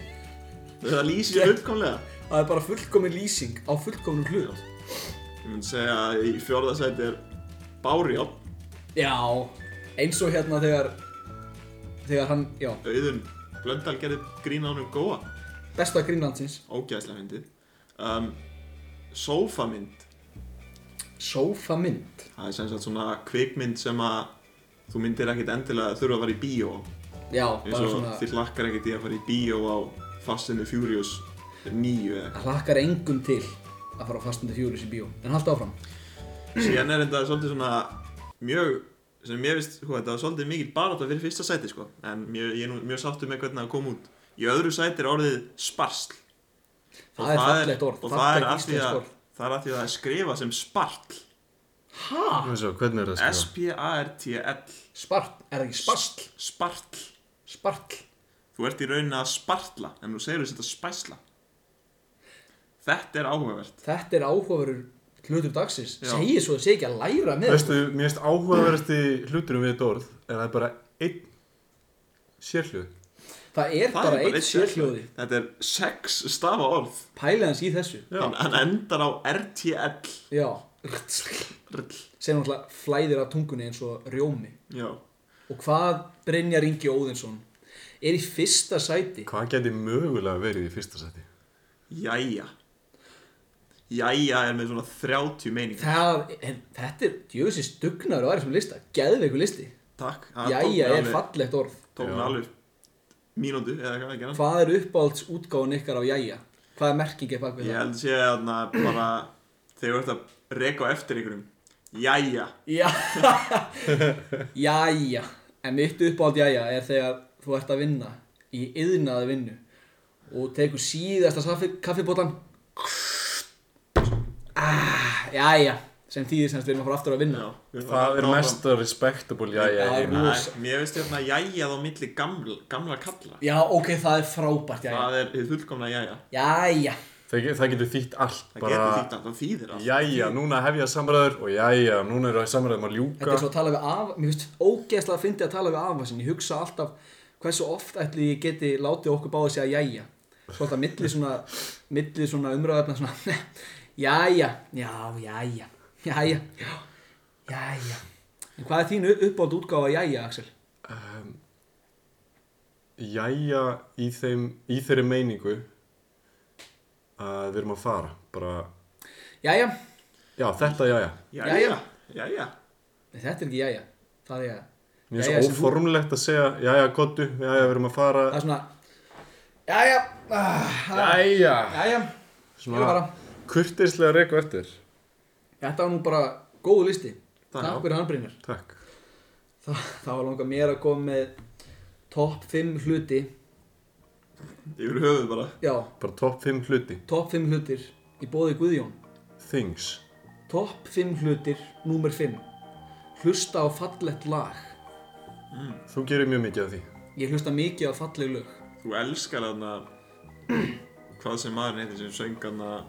B: það lýsir yeah. fullkomlega
C: það er bara fullkomin lýsing á fullkomnum hlut
B: ég myndi segja að í fjórða seti er Bárjál
C: já, eins og hérna þegar þegar hann, já,
B: Auðun Blöndal gerði grín á hann um góa
C: besta grínlandsins
B: ógæðslega myndið um, sófamynd
C: sófamynd
B: það er sem sagt svona kvikmynd sem að þú myndir ekkert endilega þurfa að fara í bíó á.
C: Já,
B: eins
C: bara
B: og
C: svona
B: þið lakkar ekkert í að fara í bíó á Fast and the Furious 9 eða
C: Það hlakkar engum til að fara á fastandi fjóris í bíó En halda áfram
B: eitthvað síðan er þetta svolítið svona mjög sem mér finnst, hú, þetta var svolítið mikil barátta fyrir fyrsta sæti sko en mjög, ég er nú mjög sáttur með hvernig það kom út í öðru sæti er orðið sparsl
C: Það er fallegt orð,
B: og það er
C: fallegt
B: af því
C: íslenskt
B: að
C: orð.
B: það er af því að það er skrifa sem spartl
C: Hæ?
D: eins og hvernig er það sko? skrifa?
B: S-P-A-R-T-L
C: Spart, er það ekki spartl?
B: Spartl
C: Spartl
B: Þú Þú ert í rauninni að spartla En þú segir þess að spæsla Þetta er áhugavert
C: Þetta er áhugaverur hlutur dagsins
B: Já.
C: Segir svo að segja ekki að læra með
D: Veistu, mér finnst áhugaverðasti hluturum við þetta orð er að það er bara einn sérhljóð.
C: Það er bara eitt sérhljóði
B: sko. Þetta er sex stafa orð
C: Pæliðans í þessu
D: Já.
B: hann, hann endar á RTL
C: Já
B: Rl.
C: Sem náttúrulega flæðir af tungunni eins og rjómi
B: Já
C: Og hvað Brynjar Ingi Óðinsson er í fyrsta sæti
D: Hvað geti mögulega verið í fyrsta seti?
B: Jæja Jæja er með svona 30 meiningar
C: Það, en, þetta er djöfisins dugnar og aðeins sem lista, geðveiku listi
B: Takk Það tók
C: Jæja
B: mig
C: er
B: alveg-
C: fallegt orð
B: Tók
D: Já.
B: hann alveg mínútu eða hvað ekki hann
C: Hvað er uppáhalds útgáfan ykkar á jæja? Hvað er merkingið bak við
B: Ég
C: það?
B: held sé að na, bara þegar þú ert að reka á eftir einhverjum Jæja
C: Já Jæja En mitt uppáhald jæja er þegar þú ert að vinna í yðnaði vinnu og tekur síðasta kaffibótan ah, Jæja sem þýðir semst við erum að fara aftur að vinna
B: Já, við
D: Það er
B: náðum-
D: mesta respectable, já, já,
C: Já,
D: já.
B: Nei, Mér veist hérna jæja þá milli gamla, gamla kalla
C: Já, ok, það er frábært jæja
B: Það er hið fullkomna jæja
C: Jæja
D: Það, ge- það getur þýtt allt,
B: Það getur
D: bara
B: þýtt að það þýðir allt
D: jæja, núna hef ég að samræður og jæja, núna eru að samræðum að
C: Þetta
D: ljúka.
C: er svo að tala við af, mér finnst ógeðslega að fyndi að tala við af sinni. Ég hugsa alltaf hversu oft ætli ég geti látið okkur báði segja jæja. Svolítið að milli svona, milli svona umræðafna svona, jæja, já, jæja, jæja, já, jæja. En hvað er þín uppátt útgáfa af jæja, Axel?
D: Jæja í, þeim, í þeirri meiningu að við erum að fara, bara,
C: Jæja,
D: já, þetta jæja.
B: Jæja, jæja
C: Nei, þetta er ekki jæja, það er jæja.
D: Mér
C: Jæja,
D: finnst
C: sem þú-
D: óformlegt að segja, jæja, gottu, jæja, við erum að fara.
C: Það er svona, jæja, ah,
D: Jæja.
C: jæja, ég vil bara.
D: Svona kurteislega reyku eftir.
C: Þetta var nú bara góðu listi.
B: Takk.
C: Takk fyrir hann, Brynjar.
D: Takk.
C: Þá, þá langar mér að koma með topp 5 hluti
B: Yfir höfuð bara
C: já,
D: Bara topp 5 hluti.
C: topp 5 hlutir í bóði Guðjón
D: Things.
C: topp 5 hlutir, númer 5 hlusta á fallett lag
D: Þú gerir mjög mikið af því.
C: ég hlusta mikið á falleg lög
B: Þú elskar þarna Hvað sem maður heitir sem söng þarna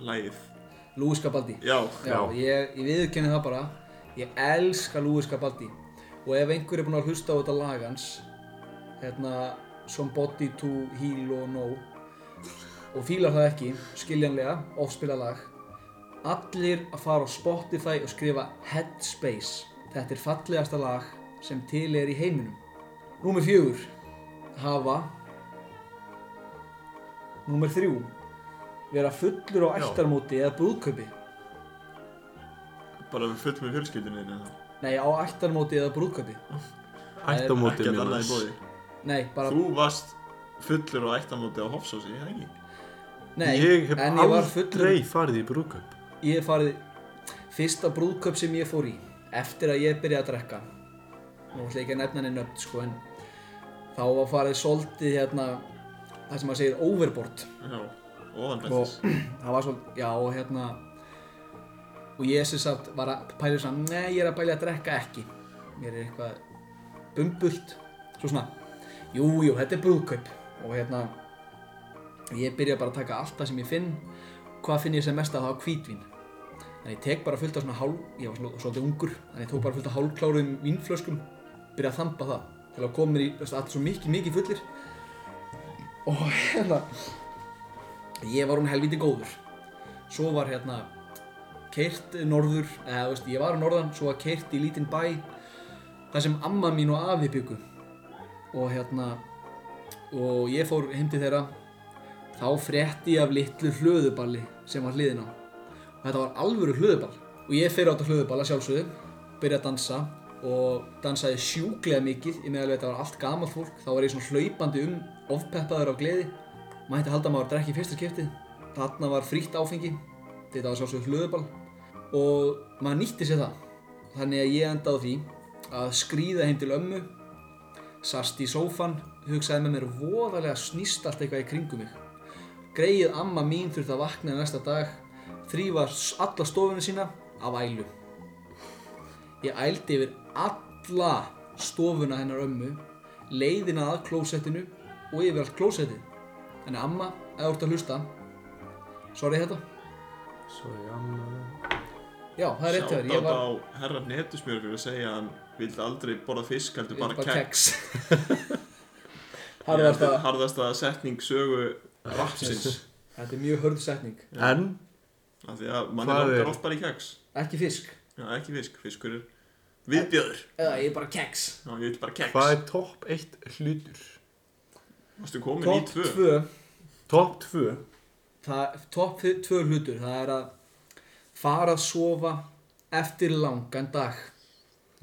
B: Lægið
C: Lúi Skabaldi
B: Já,
C: já,
D: Já.
C: ég, ég viðurkenni það bara ég elska Lúi Skabaldi og ef einhver er búinn að hlusta á þetta lag hans hérna Somebody to Heal or No og fílar það ekki skiljanlega, ofspila lag allir að fara á Spotify og skrifa Headspace þetta er fallegasta lag sem til er í heiminum Númer fjögur hafa Númer þrjú vera fullur á
D: Já.
C: ættarmóti eða brúðkaupi
B: bara við fullt með fjölskyldunni þinni þá.
C: Nei, á ættarmóti eða brúðkaupi.
D: Ættamótið
B: Ekkert
D: mjög
B: annað í
D: næs.
B: bóði
C: Nei, bara...
B: Þú varst fullur á ættamóti á Hofsósi, ég ekki
C: Nei,
D: ég hef
C: en ég var fullur...
D: aldrei farið í brúköp.
C: Ég hef farið... Fyrsta brúðkaup sem ég fór í, eftir að ég byrjaði að drekka. Nú ætla ég ekki að nefna henni nöfn, sko, en... Þá var farið svolítið hérna... Það sem maður segir overboard.
B: Já, ofan
C: og
B: bestis
C: það var svolítið, já, og hérna og ég sem sagt var að pæla svona, nei, ég er að pæla að drekka ekki mér er eitthvað bumbult, svo svona jú, jú, þetta er brúðkaup og hérna, ég byrja bara að taka allt það sem ég finn hvað finn ég sem mest að það á hvítvín þannig ég tek bara fullt af svona hálf, ég var svol- svolítið ungur þannig ég tók bara fullt af hálfkláruðum vínflöskum byrja að þamba það til að koma mér í, veist, allt svo mikið, mikið fullir og hérna ég var hún helviti góður svo var hérna keirt norður, eða þú veist, ég var á norðan svo var keirt í lítinn bæ þar sem amma mín og afi byggu og hérna og ég fór heim til þeirra þá frétti ég af litlu hlöðuballi sem var hliðin á og þetta var alvöru hlöðuball og ég fyrir á þetta hlöðuball að sjálfsögðu byrja að dansa og dansaði sjúklega mikið í meðal við þetta var allt gamalt fólk þá var ég svona hlaupandi um ofpeppaður af gleði mætti halda að maður drekki í fyrsta skipti þarna var frítt áfengi þetta var sjálfsögðu hlöðuball og maður nýtti sér það þannig að ég endaði á því að skríða heim til ömmu sast í sófan, hugsaði með mér voðalega snýst allt eitthvað í kringum mig. Greið amma mín þurfti að vakna næsta dag, þrýfa s- alla stofuna sína af ælu. Ég ældi yfir alla stofuna hennar ömmu, leiðina að klósettinu og yfir allt klósettið. Þannig að amma, ef þú ert að hlusta, sorry þetta.
D: Svo ég annað
C: Já, það er rétt hjá þér. Ég
B: Sjátt
C: var
B: á herra netusmjör fyrir að segja að hann vildi aldrei borða fisk heldur bara kekk
C: keks.
B: Ég held
C: Harðasta,
B: að harðasta setning sögu rapsins
C: þetta er mjög hörð setning.
D: En
B: af því að manni
D: Hvað er-
B: langar oft bara í keks
C: Ekki fisk,
B: Já, ekki fisk, fiskur er viðbjöður
C: eða ég er bara keks.
B: Já, ég vil bara keks
D: hvað er topp 1 hlutur?
B: Varstu komin í
C: Topp
B: tvö?
C: 2,
D: Topp 2
C: topp 2 hlutur, það er að fara að sofa eftir langan dag.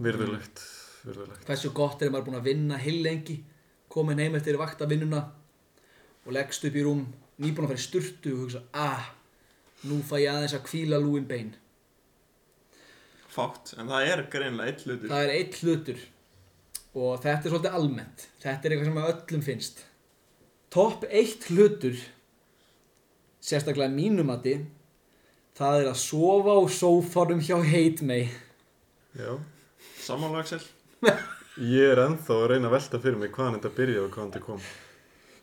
D: Virðulegt Virðulegt
C: hversu gott er að maður er búinn að vinna hill lengi, komin heim eftir vaktavinnuna og leggst upp í rúm nýbúinn að fara í sturtu og hugsa ah, nú fæ ég aðeins að kvíla lúin bein
B: Fátt, en það er greinlega eitt hlutur
C: það er eitt hlutur og þetta er svolítið almennt þetta er eitthvað sem að öllum finnst topp eitt hlutur sérstaklega mínumati það er að sofa á sófarum hjá heitmei
D: Já
B: Sammála Axel
D: Ég er ennþá að reyna að velta fyrir mig hvaðan þetta byrjaði og hvaðan þetta kom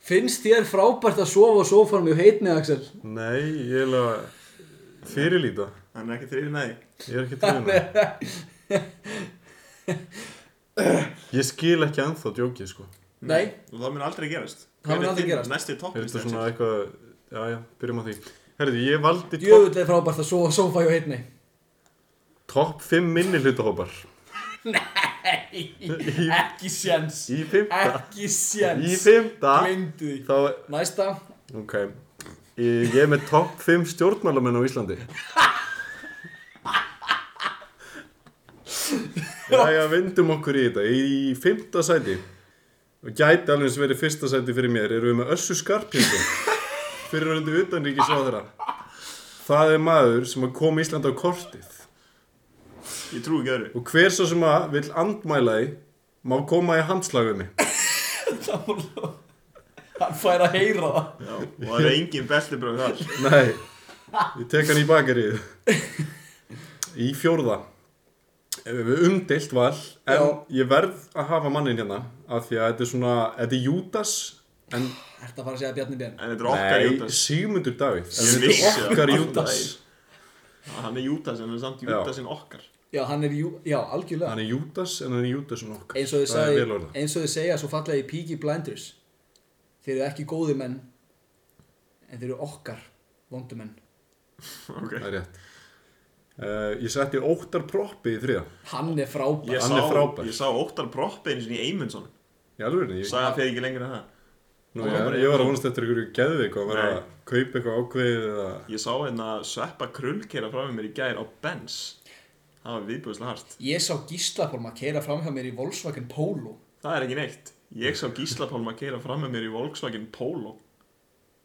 C: finnst þér frábært að sofa á sófarum hjá heitmei Axel?
D: Nei, ég er að fyrirlíta
B: Hann er ekki þrýðin að því
D: Ég er ekki trefna Ég skil ekki ennþá djókið sko
C: Nei.
B: Og það mun aldrei gerast
C: Það mun
B: Hver er
C: aldrei
B: þinn
C: gerast.
B: Næsti
D: Er
B: topplist
D: þetta svona eitthvað Já, já, byrjum á því Herði, ég valdi topp
C: djöfull er frábært að sofa á sófa hjá heitmei
D: top 5 minni hlutahópar Í,
C: Ekki séns
D: í fymta
C: Ekki séns
D: Í fymta
C: Gleymdu því
D: Þá,
C: Næsta
D: ok Ég ég er með topp 5 stjórnmálamenn á Íslandi Jæja, vindum okkur í þetta Í fymta sæti Og gæti alveg eins verið fyrsta sæti fyrir mér Erum við með Össu Skarpjöndum Fyrir hundi utanríkis á þeirra Það er maður sem að koma Íslandi á kortið
B: Ég trú ekki öðru
D: Og hver svo sem að vill andmæla því Má koma í handslag við mig
C: Hann fær að heyra það
B: Já, og það er engin beltibröð þar
D: Nei, ég tek hann í bakarið Í fjórða Eh, Umdeilt val En
C: Já.
D: ég verð að hafa mannin hérna Af því að þetta er svona, þetta er Júdas En
C: Ertu að fara að segja Bjarni Björn
B: En þetta er okkar Júdas
D: Sigmundur
B: Ég
D: Davíð Þetta
B: vissi
D: er
B: það.
D: okkar Júdas
B: Ah, Hann er Júdas en hann er samt
D: Já.
B: Júdasin okkar
C: Já, hann er, jú, já, algjörlega
D: Hann er Júdas en hann er Júdas en okkar
C: Eins og þið
D: Það er
C: sagði,
D: vel orðað.
C: eins og þið segja svo fallega í Peaky Blinders Þeir eru ekki góði menn En þeir eru okkar vondu menn
B: Ok
D: Það er rétt uh, Ég setti óttar proppi í þriða
C: Hann er frábær
B: Ég
D: Hann er
B: sá,
D: frábær.
B: ég sá Óttar Proppi einu sinni í Eymundsson
D: Í alveg ég,
B: Sæði að fyrir ekki lengur en það
D: nú, ég, ég var að vonast eftir ykkur geðvik Og að vera
B: Nei.
D: að kaupa eitthvað ákveðið eða...
B: Ég sá hérna sveppa krullkera frá mér í gær á Benz Það var viðbúðslega hart
C: Ég sá Gíslapólm að keira framhjá mér í Volkswagen Polo
B: Það er ekki neitt Ég sá Gíslapálm að keira fram með mér í Volkswagen Polo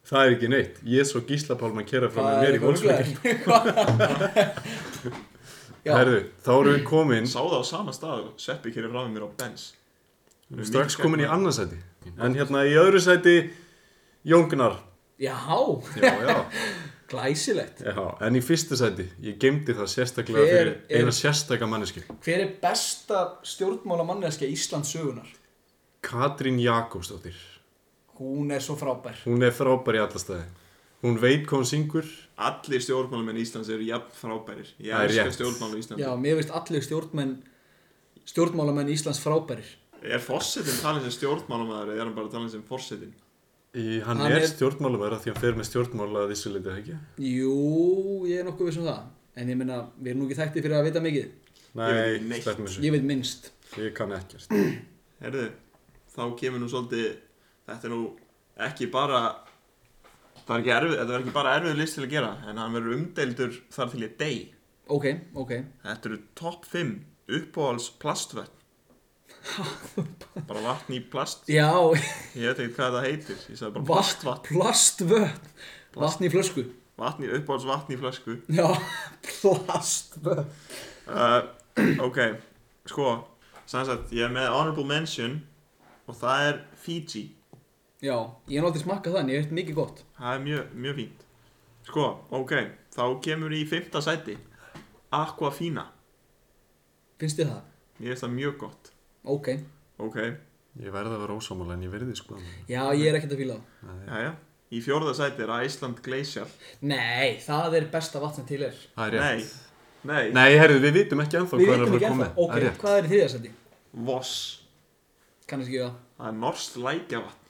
D: Það er ekki neitt, ég svo Gísla Pálma kera fram með
C: Það er
D: mér í
C: eitthvað
D: Volkswagen
C: ruglaður. Já,
D: Herðu, þá erum við komin
B: Sá það á sama stað Sveppi keira fram með mér á Benz
D: Við erum strax komin í annarsæti En hérna í öðru sæti Jóngnar
C: já,
D: já, já.
C: glæsilegt
D: já, En í fyrsta sæti, ég gemdi það sérstaklega
C: Hver
D: fyrir
C: er-
D: eina sérstaka manneski
C: Hver er besta stjórnmála manneskja Íslands sögunar?
D: Katrín Jakobsdóttir
C: Hún er svo frábær.
D: Hún er frábær í alla staði Hún veit hvað hún syngur
B: Allir stjórnmálamenn Íslands eru jafn frábærir Ég
D: Það er
B: elskar
D: rétt.
B: stjórnmálamenn Íslands
C: Já, mér veist allir stjórnmenn, stjórnmálamenn Íslands frábærir.
B: Er fórsetin talin sem stjórnmálamaður eða er hann bara talin sem fórsetin?
D: Í, hann,
C: Hann
D: er,
C: er-
D: er stjórnmálamæður Því hann fer með stjórnmála að þessu leiti ekki
C: Jú, ég er nokkuð viss um það. En ég meina, við erum nú ekki þekktið fyrir að vita mikið.
B: veit ekki
D: Nei,
B: neitt.
D: sleppum þessu
C: Ég veit minnst.
D: Ég kann ekkert
B: Herðu, þá kemur nú svolítið Þetta er nú ekki bara Það er ekki erfið, þetta er ekki bara erfið list til að gera En hann verður umdeildur þar til ég dey
C: Ok, ok.
B: Þetta eru topp 5 uppáhalds plastvötn Bara vatn í plast
C: Já,
B: Ég veit ekki hvað það heitir Ég sagði
C: vatn,
B: bara plastvatn
C: plastvötn. Vatn í flösku.
B: Vatn í uppáhalds vatn í flösku
C: Já, plastvötn.
B: uh, Ok, sko Sannsagt, ég er með honorable mention Og það er Fiji
C: Já, ég er náttúrulega smakkað það en ég veit mikið gott.
B: Það er mjög, mjög fínt Sko, ok, þá kemur í fymta sæti Aquafina
C: Finnst þið það?
B: Mér finnst það mjög gott
C: Ok.
B: Ok,
D: Ég verði að vera ósámála en ég verði sko
C: Já, ég er ekkert að fíla það.
B: Jæja, í fjórða sæti er Æsland Glacial
C: Nei, það er besta vatn sem til er.
D: Það er
B: Nei,
D: rétt
B: nei,
D: Nei, herðu, við vitum ekki ennþá
C: Við
D: hvað er að
C: veitum ekki
D: fara að koma
C: ennþá. Ok,
D: Það er rétt.
C: hvað er í þriðarsæti?
B: Voss
C: Kannast ekki það.
B: Það er norskt lækjavatn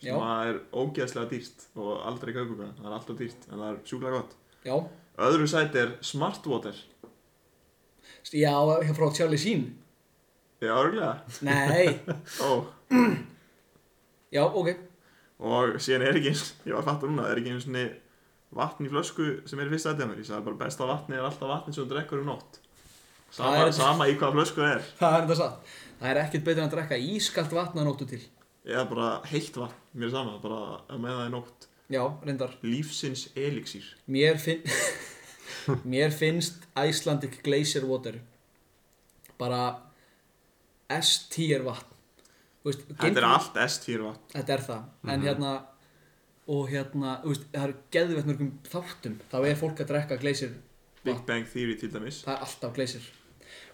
C: Já.
B: sem að er ógeðslega dýrt og aldrei kaupuga, það er alltaf dýrt en það er sjúklega gott
C: Já,
B: Öðru sæti er Smartwater
C: já, frá Charlie Sheen.
B: Já, örgulega
C: Nei,
B: Ó,
C: já, ok.
B: og síðan er ekki ég var að fatta núna, það er ekki einu svona vatn í flösku sem er í fyrsta aðdæmur ég sagði bara besta vatni er alltaf vatni sem þú drekkur um nótt sama,
C: Það er-
B: sama í hvaða flösku það er
C: Það er þetta satt. Það er ekkert betur en að drekka ískalt vatn að nóttu til.
B: eða bara heitt vatn, mér er sama bara að með það í nótt
C: Já, reyndar.
B: lífsins elixir
C: Mér, finn... Mér finnst Icelandic Glacier Water bara S-tier vatn. Þú Veist,
B: þetta er
C: geimflug-
B: allt S4 vatn
C: Þetta er það. En hérna, og hérna, þú veist, það er geðveitt mörgum þáttum. Þá er fólk að drekka Glacier. Ah.
B: Big Bang Theory til dæmis
C: Það er alltaf Glacier.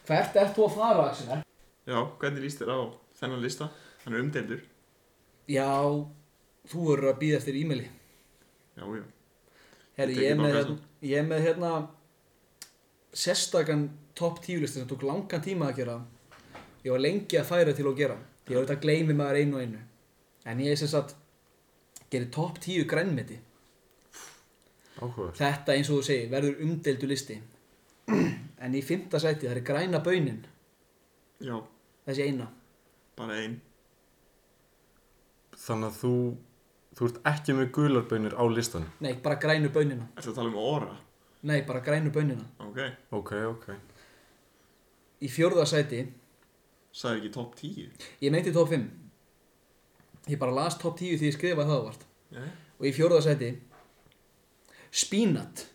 C: Hvert ert þú að fara, Axel?
B: já, hvernig líst þér á þennan lista hann er umdeldur
C: Já, þú verður að býða eftir e-maili.
B: já, já,
C: Herri, ég
B: Ég tek
C: er
B: ekki
C: með,
B: banka
C: hérna, ég er með hérna sérstakann topp tíulisti sem tók langan tíma að gera ég var lengi að færa til að gera ég var þetta gleymi maður einu og einu en ég sem sagt gerir topp tíu grænmeti
D: Áhugavert.
C: þetta eins og þú segir verður umdeldu listi en í fymta sæti það er græna baunin
B: já,
C: þessi eina
B: bara ein
D: Þannig að þú Þú ert ekki með gularbönir á listan
C: nei bara grænu baunina
B: ætla að tala um óra
C: nei bara grænu baunina
B: ok,
D: Ok, ok
C: í fjórða sæti
B: sagði ekki top 10
C: ég meinti topp 5 ég bara las topp 10 því ég skrifaði það vart
B: já,
C: og í fjórða sæti spínat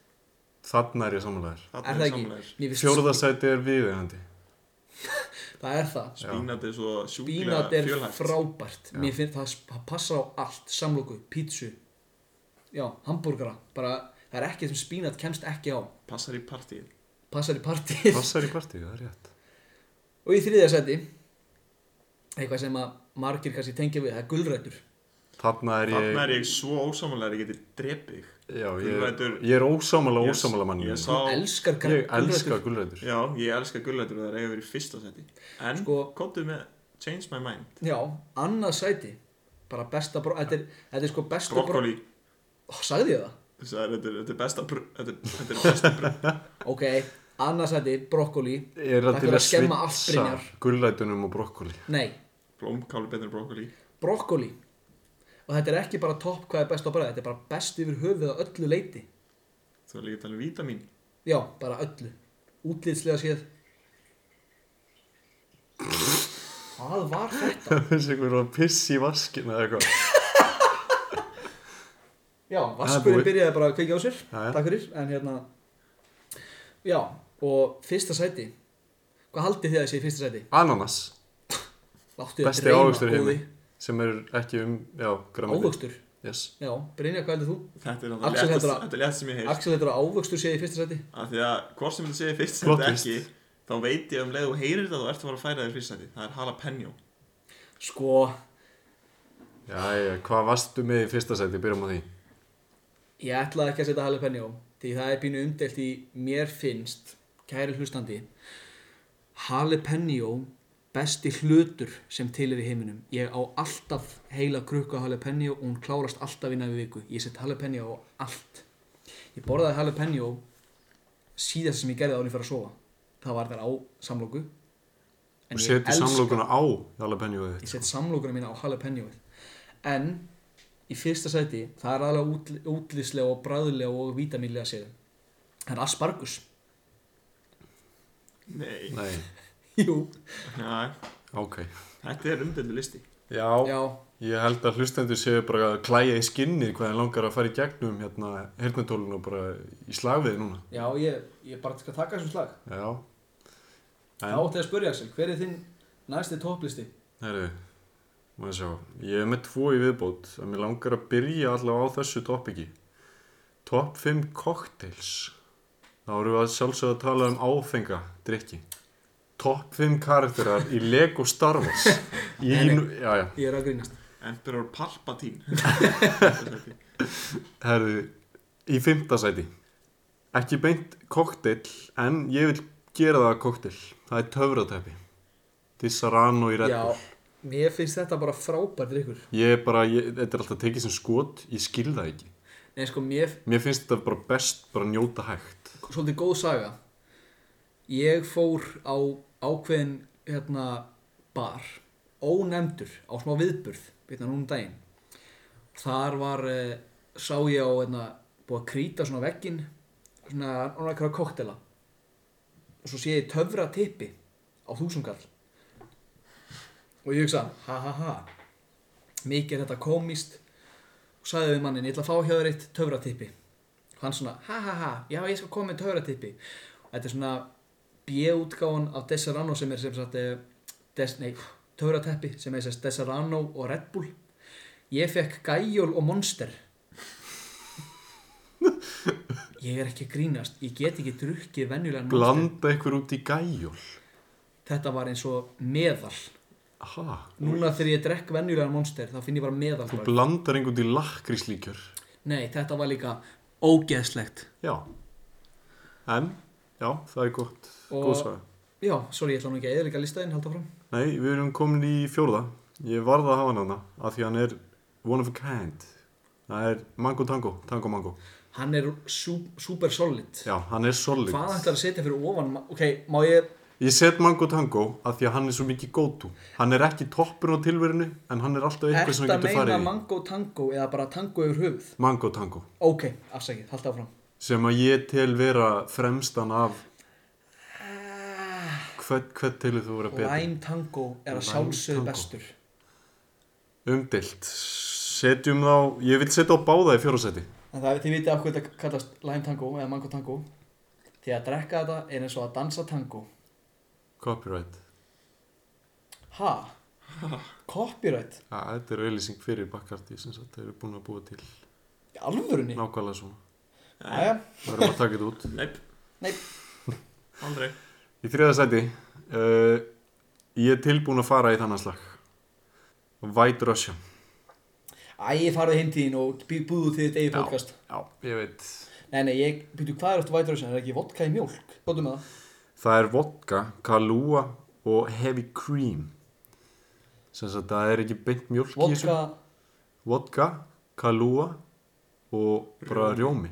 D: Þannig er ég samanlegar
B: þarna
C: er það
B: er
C: ekki?
B: samlegar
C: Mér finnst-
D: Fjórðasæti er viðeigandi
C: það er það
B: spínat er svo sjúklega
C: spínat er
B: fjölhægt
C: frábært mér finnst það, það passar á allt samloku, pítsu já, hambúrgara bara, það er ekkert sem spínat kemst ekki á
B: passar í partíið
C: passar í partíð
D: Passar í partíu, það er rétt
C: og í þriðja seti eitthvað sem að margir kannski tengja við það er gulrætur
D: Þannig er ég
B: Þannig er ég svo ósamanlega að ég geti drepið þig.
D: Já, ég,
B: Gulrætur-
D: ég er ósámála
B: Ég-
D: ósámála manni
B: Ég
D: Ég,
B: sá,
C: elskar græ-
D: elska
C: gulrætur
D: gulrætur
B: já, ég elska gullætur og það er eiga verið í fyrsta seti. En, sko,
C: Sko-
B: komdu með Change My Mind,
C: já, annað seti bara besta bró þetta er, þetta er sko besta
B: brokkoli,
C: bró Ó, sagði ég það?
B: þetta er, þetta er besta brú, þetta er, þetta er besta brú.
C: ok, annað seti, brokkoli
D: Er
C: Takk
D: það til
C: fyrir
D: að
C: að skemma allt,
D: svitsa
C: Brynjar.
D: gulrætunum og brokkoli
C: nei,
B: Blómkál er betur en brokkoli.
C: brokkoli og þetta er ekki bara topp hvað er best á bræði þetta er bara best yfir höfuð að öllu leiti
B: Þú er líka að tala um vítamín.
C: já, bara öllu, útlitslega séð hvað var þetta?
D: Þessi einhver var að pissa í vaskinu eða eitthvað
C: já,
D: Það er
C: vaskurinn
D: búið.
C: byrjaði bara að kveikja á sér
D: Jæja.
C: takk fyrir, en hérna já, og fyrsta sæti hvað haldið þið að sé í fyrsta sæti?
D: Ananas,
C: Láttu þið að
D: besti
C: dreyma,
D: ávöxtur heimi
C: góði.
D: sem er ekki um, já, græmið
C: ávöxtur,
D: yes.
C: já, Brynja, hvað heldur þú?
B: Þetta
C: Axel
B: er alltaf létt,
C: heldur að-
B: þetta er létt sem ég heyrst.
C: Axel, þetta er ávöxtur séð í fyrsta sæti
B: Af því að, hvort sem þetta segir fyrst
D: Plot
B: seti
D: twist.
B: ekki, þá veit ég um leið og heyrir þetta, þú ert að fara að færa þér fyrst seti. Það er jalapeno.
C: sko,
D: Jæja, hvað varstu með í fyrsta sæti, byrjum á því
C: Ég ætlaði ekki að setja jalapeno því það er pínu umdelt í mér finnst kæri hlustandi jalapeno besti hlutur sem til er í heiminum ég á alltaf heila krukku af jalapeno og hún klárast alltaf innan við viku ég set jalapeno á allt ég borðaði jalapeno síðast sem ég gerði án ég fyrir að sofa það var þar á samlóku
D: og seti samlokuna á jalapenjóið
C: ég
D: þitt sko.
C: set samlokuna mína á jalapenoið en í fyrsta sæti það er aðlega útl útlýslega og bræðilega og vítamínlega séð það er aspargus
B: Nei.
D: Nei,
C: Jú.
B: Nei.
D: ok
B: Þetta er umdöldu listi.
D: Já,
C: já,
D: ég held að hlustendur séu bara að klæja í skinnið hvað þeir langar að fara í gegnum hérna hernatólun og bara í slagvið núna
C: já ég, ég bara skal taka þessum slag
D: Já,
C: þá
D: en,
C: ætti ég að spyrja Axel, hver er þinn næsti topplisti?
D: herru maður sjá, ég er með tvo í viðbót að mér langar að byrja allavega á þessu topiki Top 5 cocktails Þá erum við að sjálfsögða að tala um áfenga drikki Top 5 karakterar í Lego Star Wars Ég,
C: Nei,
D: nei,
C: nei.
D: Já, já,
C: Ég er að grínast
B: Emperor Palpatine
D: herðu Í fymta sæti Ekki beint koktel En ég vil gera það koktel Það er töfratæpi Disarano í Red
C: Já,
D: Bull
C: mér finnst þetta bara frábært ykkur
D: Ég er bara, ég, þetta er alltaf tekið sem skot Ég skil það ekki
C: Nei, sko, mér
D: Mér finnst þetta bara best bara að njóta hægt
C: svolítið góð saga ég fór á ákveðin hérna bar ónefndur á smá viðburð hérna núna um daginn þar var eh, sá ég á hérna búið að krýta svona veggin svona annað eitthvað koktela og svo sé ég töfra tippi á þúsungall og ég hugsa ha ha ha mikið er þetta komist og sagði við mannin ég ætla að fá hjá þér eitt töfra tippi og hann svona, ha ha ha, já ég skal koma með töfratippi og þetta er svona bjöutgáðan af Desarano sem er sem sagt eh, des, nei, töfrateppi sem er sem sagt Desarano og Red Bull ég fekk Gæjól og Monster ég er ekki að grínast ég get ekki drukkið venjulegan Monster
D: Blanda einhver út í gæjól
C: þetta var eins og meðal
D: Aha,
C: núna þegar ég drekk venjulegan Monster þá finn ég bara meðal
D: þú
C: bragð.
D: blandar einhvern út í lakríslíkjör
C: nei, þetta var líka ógeðslegt
D: Já En, já, það er gott
C: Og-
D: Góð saga
C: já, sorry, ég ætla nú ekki að eðlika listaðinn halda fram
D: Nei, við erum komin í fjórða. Ég varða að hafa hann hana af því að hann er one of a kind. Það er mango tango, tango mango.
C: hann er sú, super solid
D: Já, hann er solid.
C: hvað ætlar að setja fyrir ofan ma- ok, má ég
D: Ég set mango tango af því að hann er svo mikið gótu. Hann er ekki toppur á tilverinu en hann er alltaf eitthvað sem
C: ert
D: hann
C: að
D: getur
C: meina
D: farið í.
C: mango tango eða bara tango yfir höfuð
D: Mango tango.
C: ok, afsækið, halda áfram
D: Sem að ég tel vera fremstan af... Hvert, hvert telur þú vera betur?
C: lime tango er að
D: Lime
C: sjálfsögðu
D: tango.
C: bestur
D: Umdilt. Setjum þá... Ég vil setja á báða í fjórasæti.
C: en það þið vitið af hvað þetta kallast lime tango eða mango tango því að drekka þetta er eins og að dansa tango
D: Copyright.
C: ha, copyright
D: Já, þetta er auðlýsing fyrir Bakkarti sem sagt, þeir eru búin að búa til
C: í alvörunni
D: nákvæmlega svona.
C: Jæja.
D: Það verðum að taka þetta út.
B: Neip
C: Nei.
B: Eh, Aldrei
D: Í þriða sæti, uh, ég er tilbúin að fara í þannan slag. White Russian.
C: æ, farðu heimtíðin og bý- búðu þið þetta eigið podcast
D: Já, ég veit.
C: nei, nei, ég byrju hvað er eftir white russian, er ekki vodka í mjólk gotum með það,
D: Það er vodka, kalúa og heavy cream. Sem sagt, það er ekki beint mjölk í þessu.
C: vodka
D: Vodka, kalúa og bara rjómi.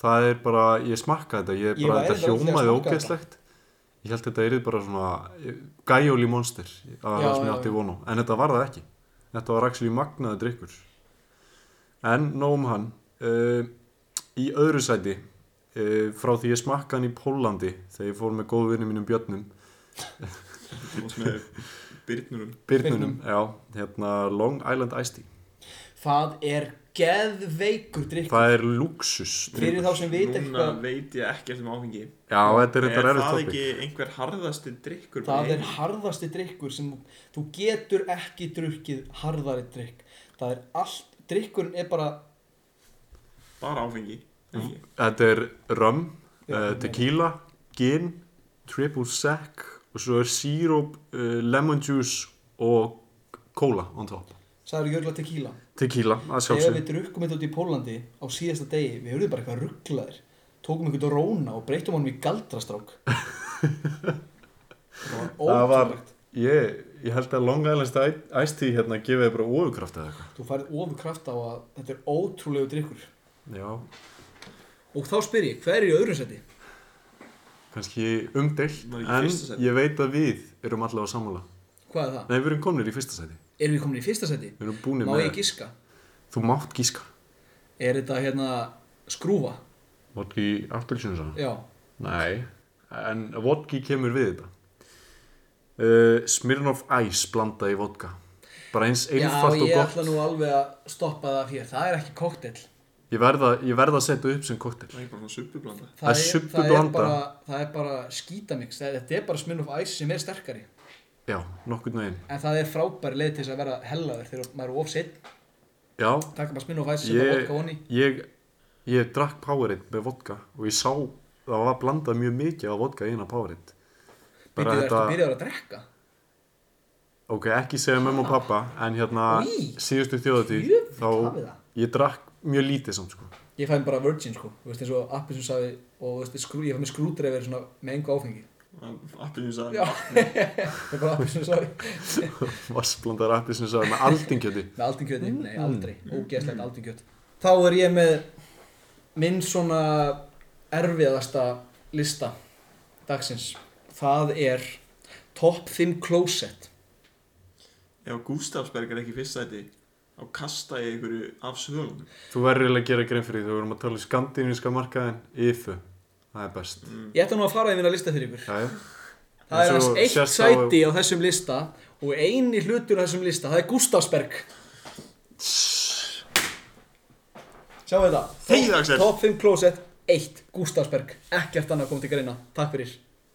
D: Það er bara, ég smakka þetta, ég er
C: Ég
D: bara,
C: væri dálítið
D: þetta
C: að
D: hljómaði
C: smakka þetta.
D: ógeðslegt. Ég held þetta erið bara svona gæjóli monster,
C: Já,
D: að það sem ég
C: já,
D: átti
C: já.
D: vonu. En þetta var það ekki. Þetta var actually magnaði drikkur. En nóg um hann, uh, í öðru sæti, uh, frá því ég smakka hann í Pólandi, þegar ég fór með góðvinni mínum Björnum,
B: Og sem er Byrnurum
D: Byrnunum, já, hérna Long Island Ice Tea.
C: það er geðveikur drikk
D: Það er luxus.
C: Fyrir þá sem veit
B: Núna
C: eitthvað,
B: veit ég ekkert um áfengi
D: Já, þetta er þetta erfið
B: það
D: topic.
B: ekki einhver harðasti drikkur
C: það er harðasti drikkur sem þú getur ekki drukkið harðari drikk. Það er allt, drikkurinn er bara,
B: Bara áfengi ekki?
D: Þetta er rum,
C: Já,
D: uh,
C: meira.
D: tequila, gin, triple sec og svo er síróp, uh, lemon juice og kóla on top.
C: sagður Jörgla tequila.
D: Tequila,
C: Þegar
D: að sjálfsög.
C: við drukkum þetta út í Pólandi á síðasta degi, við höfum bara eitthvað rugglaðir. Tókum einhvern róna og breytum honum í galdrastrák. það var
D: Það var-
C: ótrúlegt.
D: Ég, ég held að Long Island Ice- Ice Tea hérna gefið bara ofurkraft eða eitthvað.
C: Þú færið ofurkraft á að þetta er ótrúlegu drikkur.
D: Já,
C: Og þá spyr ég, hver er í öðru seti?
D: kannski umdelt,
B: Var ekki í
D: en
B: fyrsta sæti?
D: ég veit að við erum allavega sammála.
C: Hvað er það?
D: Nei, við erum komnir í fyrsta sæti.
C: Erum við komin í fyrsta seti?
D: Við erum búinir
C: Má
D: með
C: ég giska?
D: Þú mátt gíska.
C: Er þetta hérna skrúfa?
D: Vodki appelsinu svona?
C: Já.
D: Nei, en vodki kemur við þetta. Uh, Smirnoff Ice blanda í vodka. Bara eins einfalt
C: Já,
D: og
C: ég
D: gott.
C: ætla nú alveg að stoppa það hér. Það er ekki koktel.
D: Ég verða verð að setja upp sem koktel.
B: Það er ekki bara svona suppublanda
D: Það er subbublanda.
C: bara, það er bara skítamix. Það- Þetta er bara sminn of ice sem er sterkari.
D: Já, nokkurn veginn.
C: En það er frábæri leið til þess að vera hellaður þegar maður er ofsitt.
D: Já,
C: Takka bara sminn of ice sem er
D: ég,
C: vodka onni.
D: ég, ég drakk Powerade með vodka og ég sá það var blandað mjög mikið á vodka í eina Powerade.
C: Býttu
D: Bara
C: það ertu
D: þetta,
C: byrjaður að drekka.
D: Ok, ekki segja mömmu og pappa, en hérna
C: Í.
D: síðustu þjóðatíð,
C: Jöfull, hafið
D: þá
C: það.
D: ég drakk mjög lítið samt sko.
C: Ég fæði bara virgin sko, þú veist eins og appi sem sagði og þú veist, skrú, ég fæði með skrúdreifir svona með engu áfengi.
B: Appinu
C: Já,
B: sagði
C: ég er bara appi sem sagði
D: Vassblandar appi sem sagði með aldingjöti.
C: með aldingjöti, nei
D: Mm.
C: aldrei, ógeðslegt aldingjöt. Þá er ég með minn svona erfiðasta lista dagsins. Það er top 5 closet.
B: Ef Gustafsberg er ekki í fyrst sæti þá kasta ég einhverju af svölunum
D: Þú verður eiginlega að gera grein fyrir því, þú verðum að tala í skandinavíska markaðin, yfu, það er best.
C: Ég ætla nú að fara í minna lista fyrir ykkur.
D: Jæja.
C: Það er
D: Eins
C: hans
D: og
C: eitt
D: sést á-
C: sæti á þessum lista og eini hlutur á þessum lista, það er Gustafsberg. Sjáu þetta.
B: Þegið, Axel.
C: Top 5 Closet, 1, Gustafsberg. Ekkert annað kom til greina. Takk fyrir.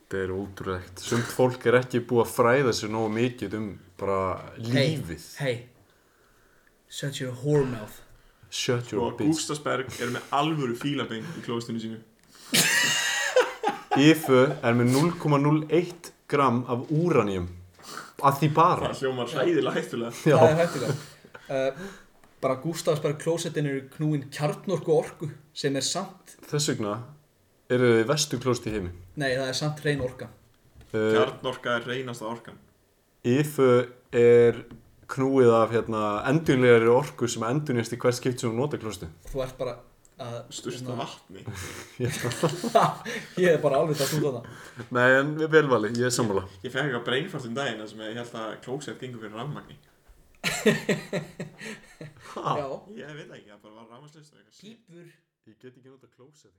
D: Þetta er ótrúlegt. Sumt fólk er ekki búið að fræða sér nógu mikið um bara lífið.
C: Hey, hey. Shut your whore mouth.
D: Shut your
B: og
D: bitch.
B: Gustafsberg er með alvöru fílabeng í klóstinu sínu
D: Yfu er með 0,01 gram af úranjum. Að því bara.
B: það hljómar hræðilega hættulega
D: Já.
C: Það er hættilega. Uh, bara Gustafsberg Closetin eru knúin kjarnorku orku sem er samt,
D: Þess vegna eru þau vestu klóst í heimi.
C: nei það er samt reyn orka.
D: Uh,
B: kjarnorka er reynasta orkan
D: Yfu er knúið af hérna, endurlegari orku sem endurnýjast í hvert skipt sem hún nota klósti.
C: Þú ert bara að... Hérna.
B: styrsta vatni
C: Ég er bara alveg það stúndan það.
D: Nei, en velvali, ég er sammála.
B: ég fekk eitthvað breynfart um daginn þar sem ég held að klósett gengur fyrir rafmagni
C: Já.
B: ég veit það ekki, það bara var rafmagnslust
C: Kýpur.
D: Ég get ekki nota klósti.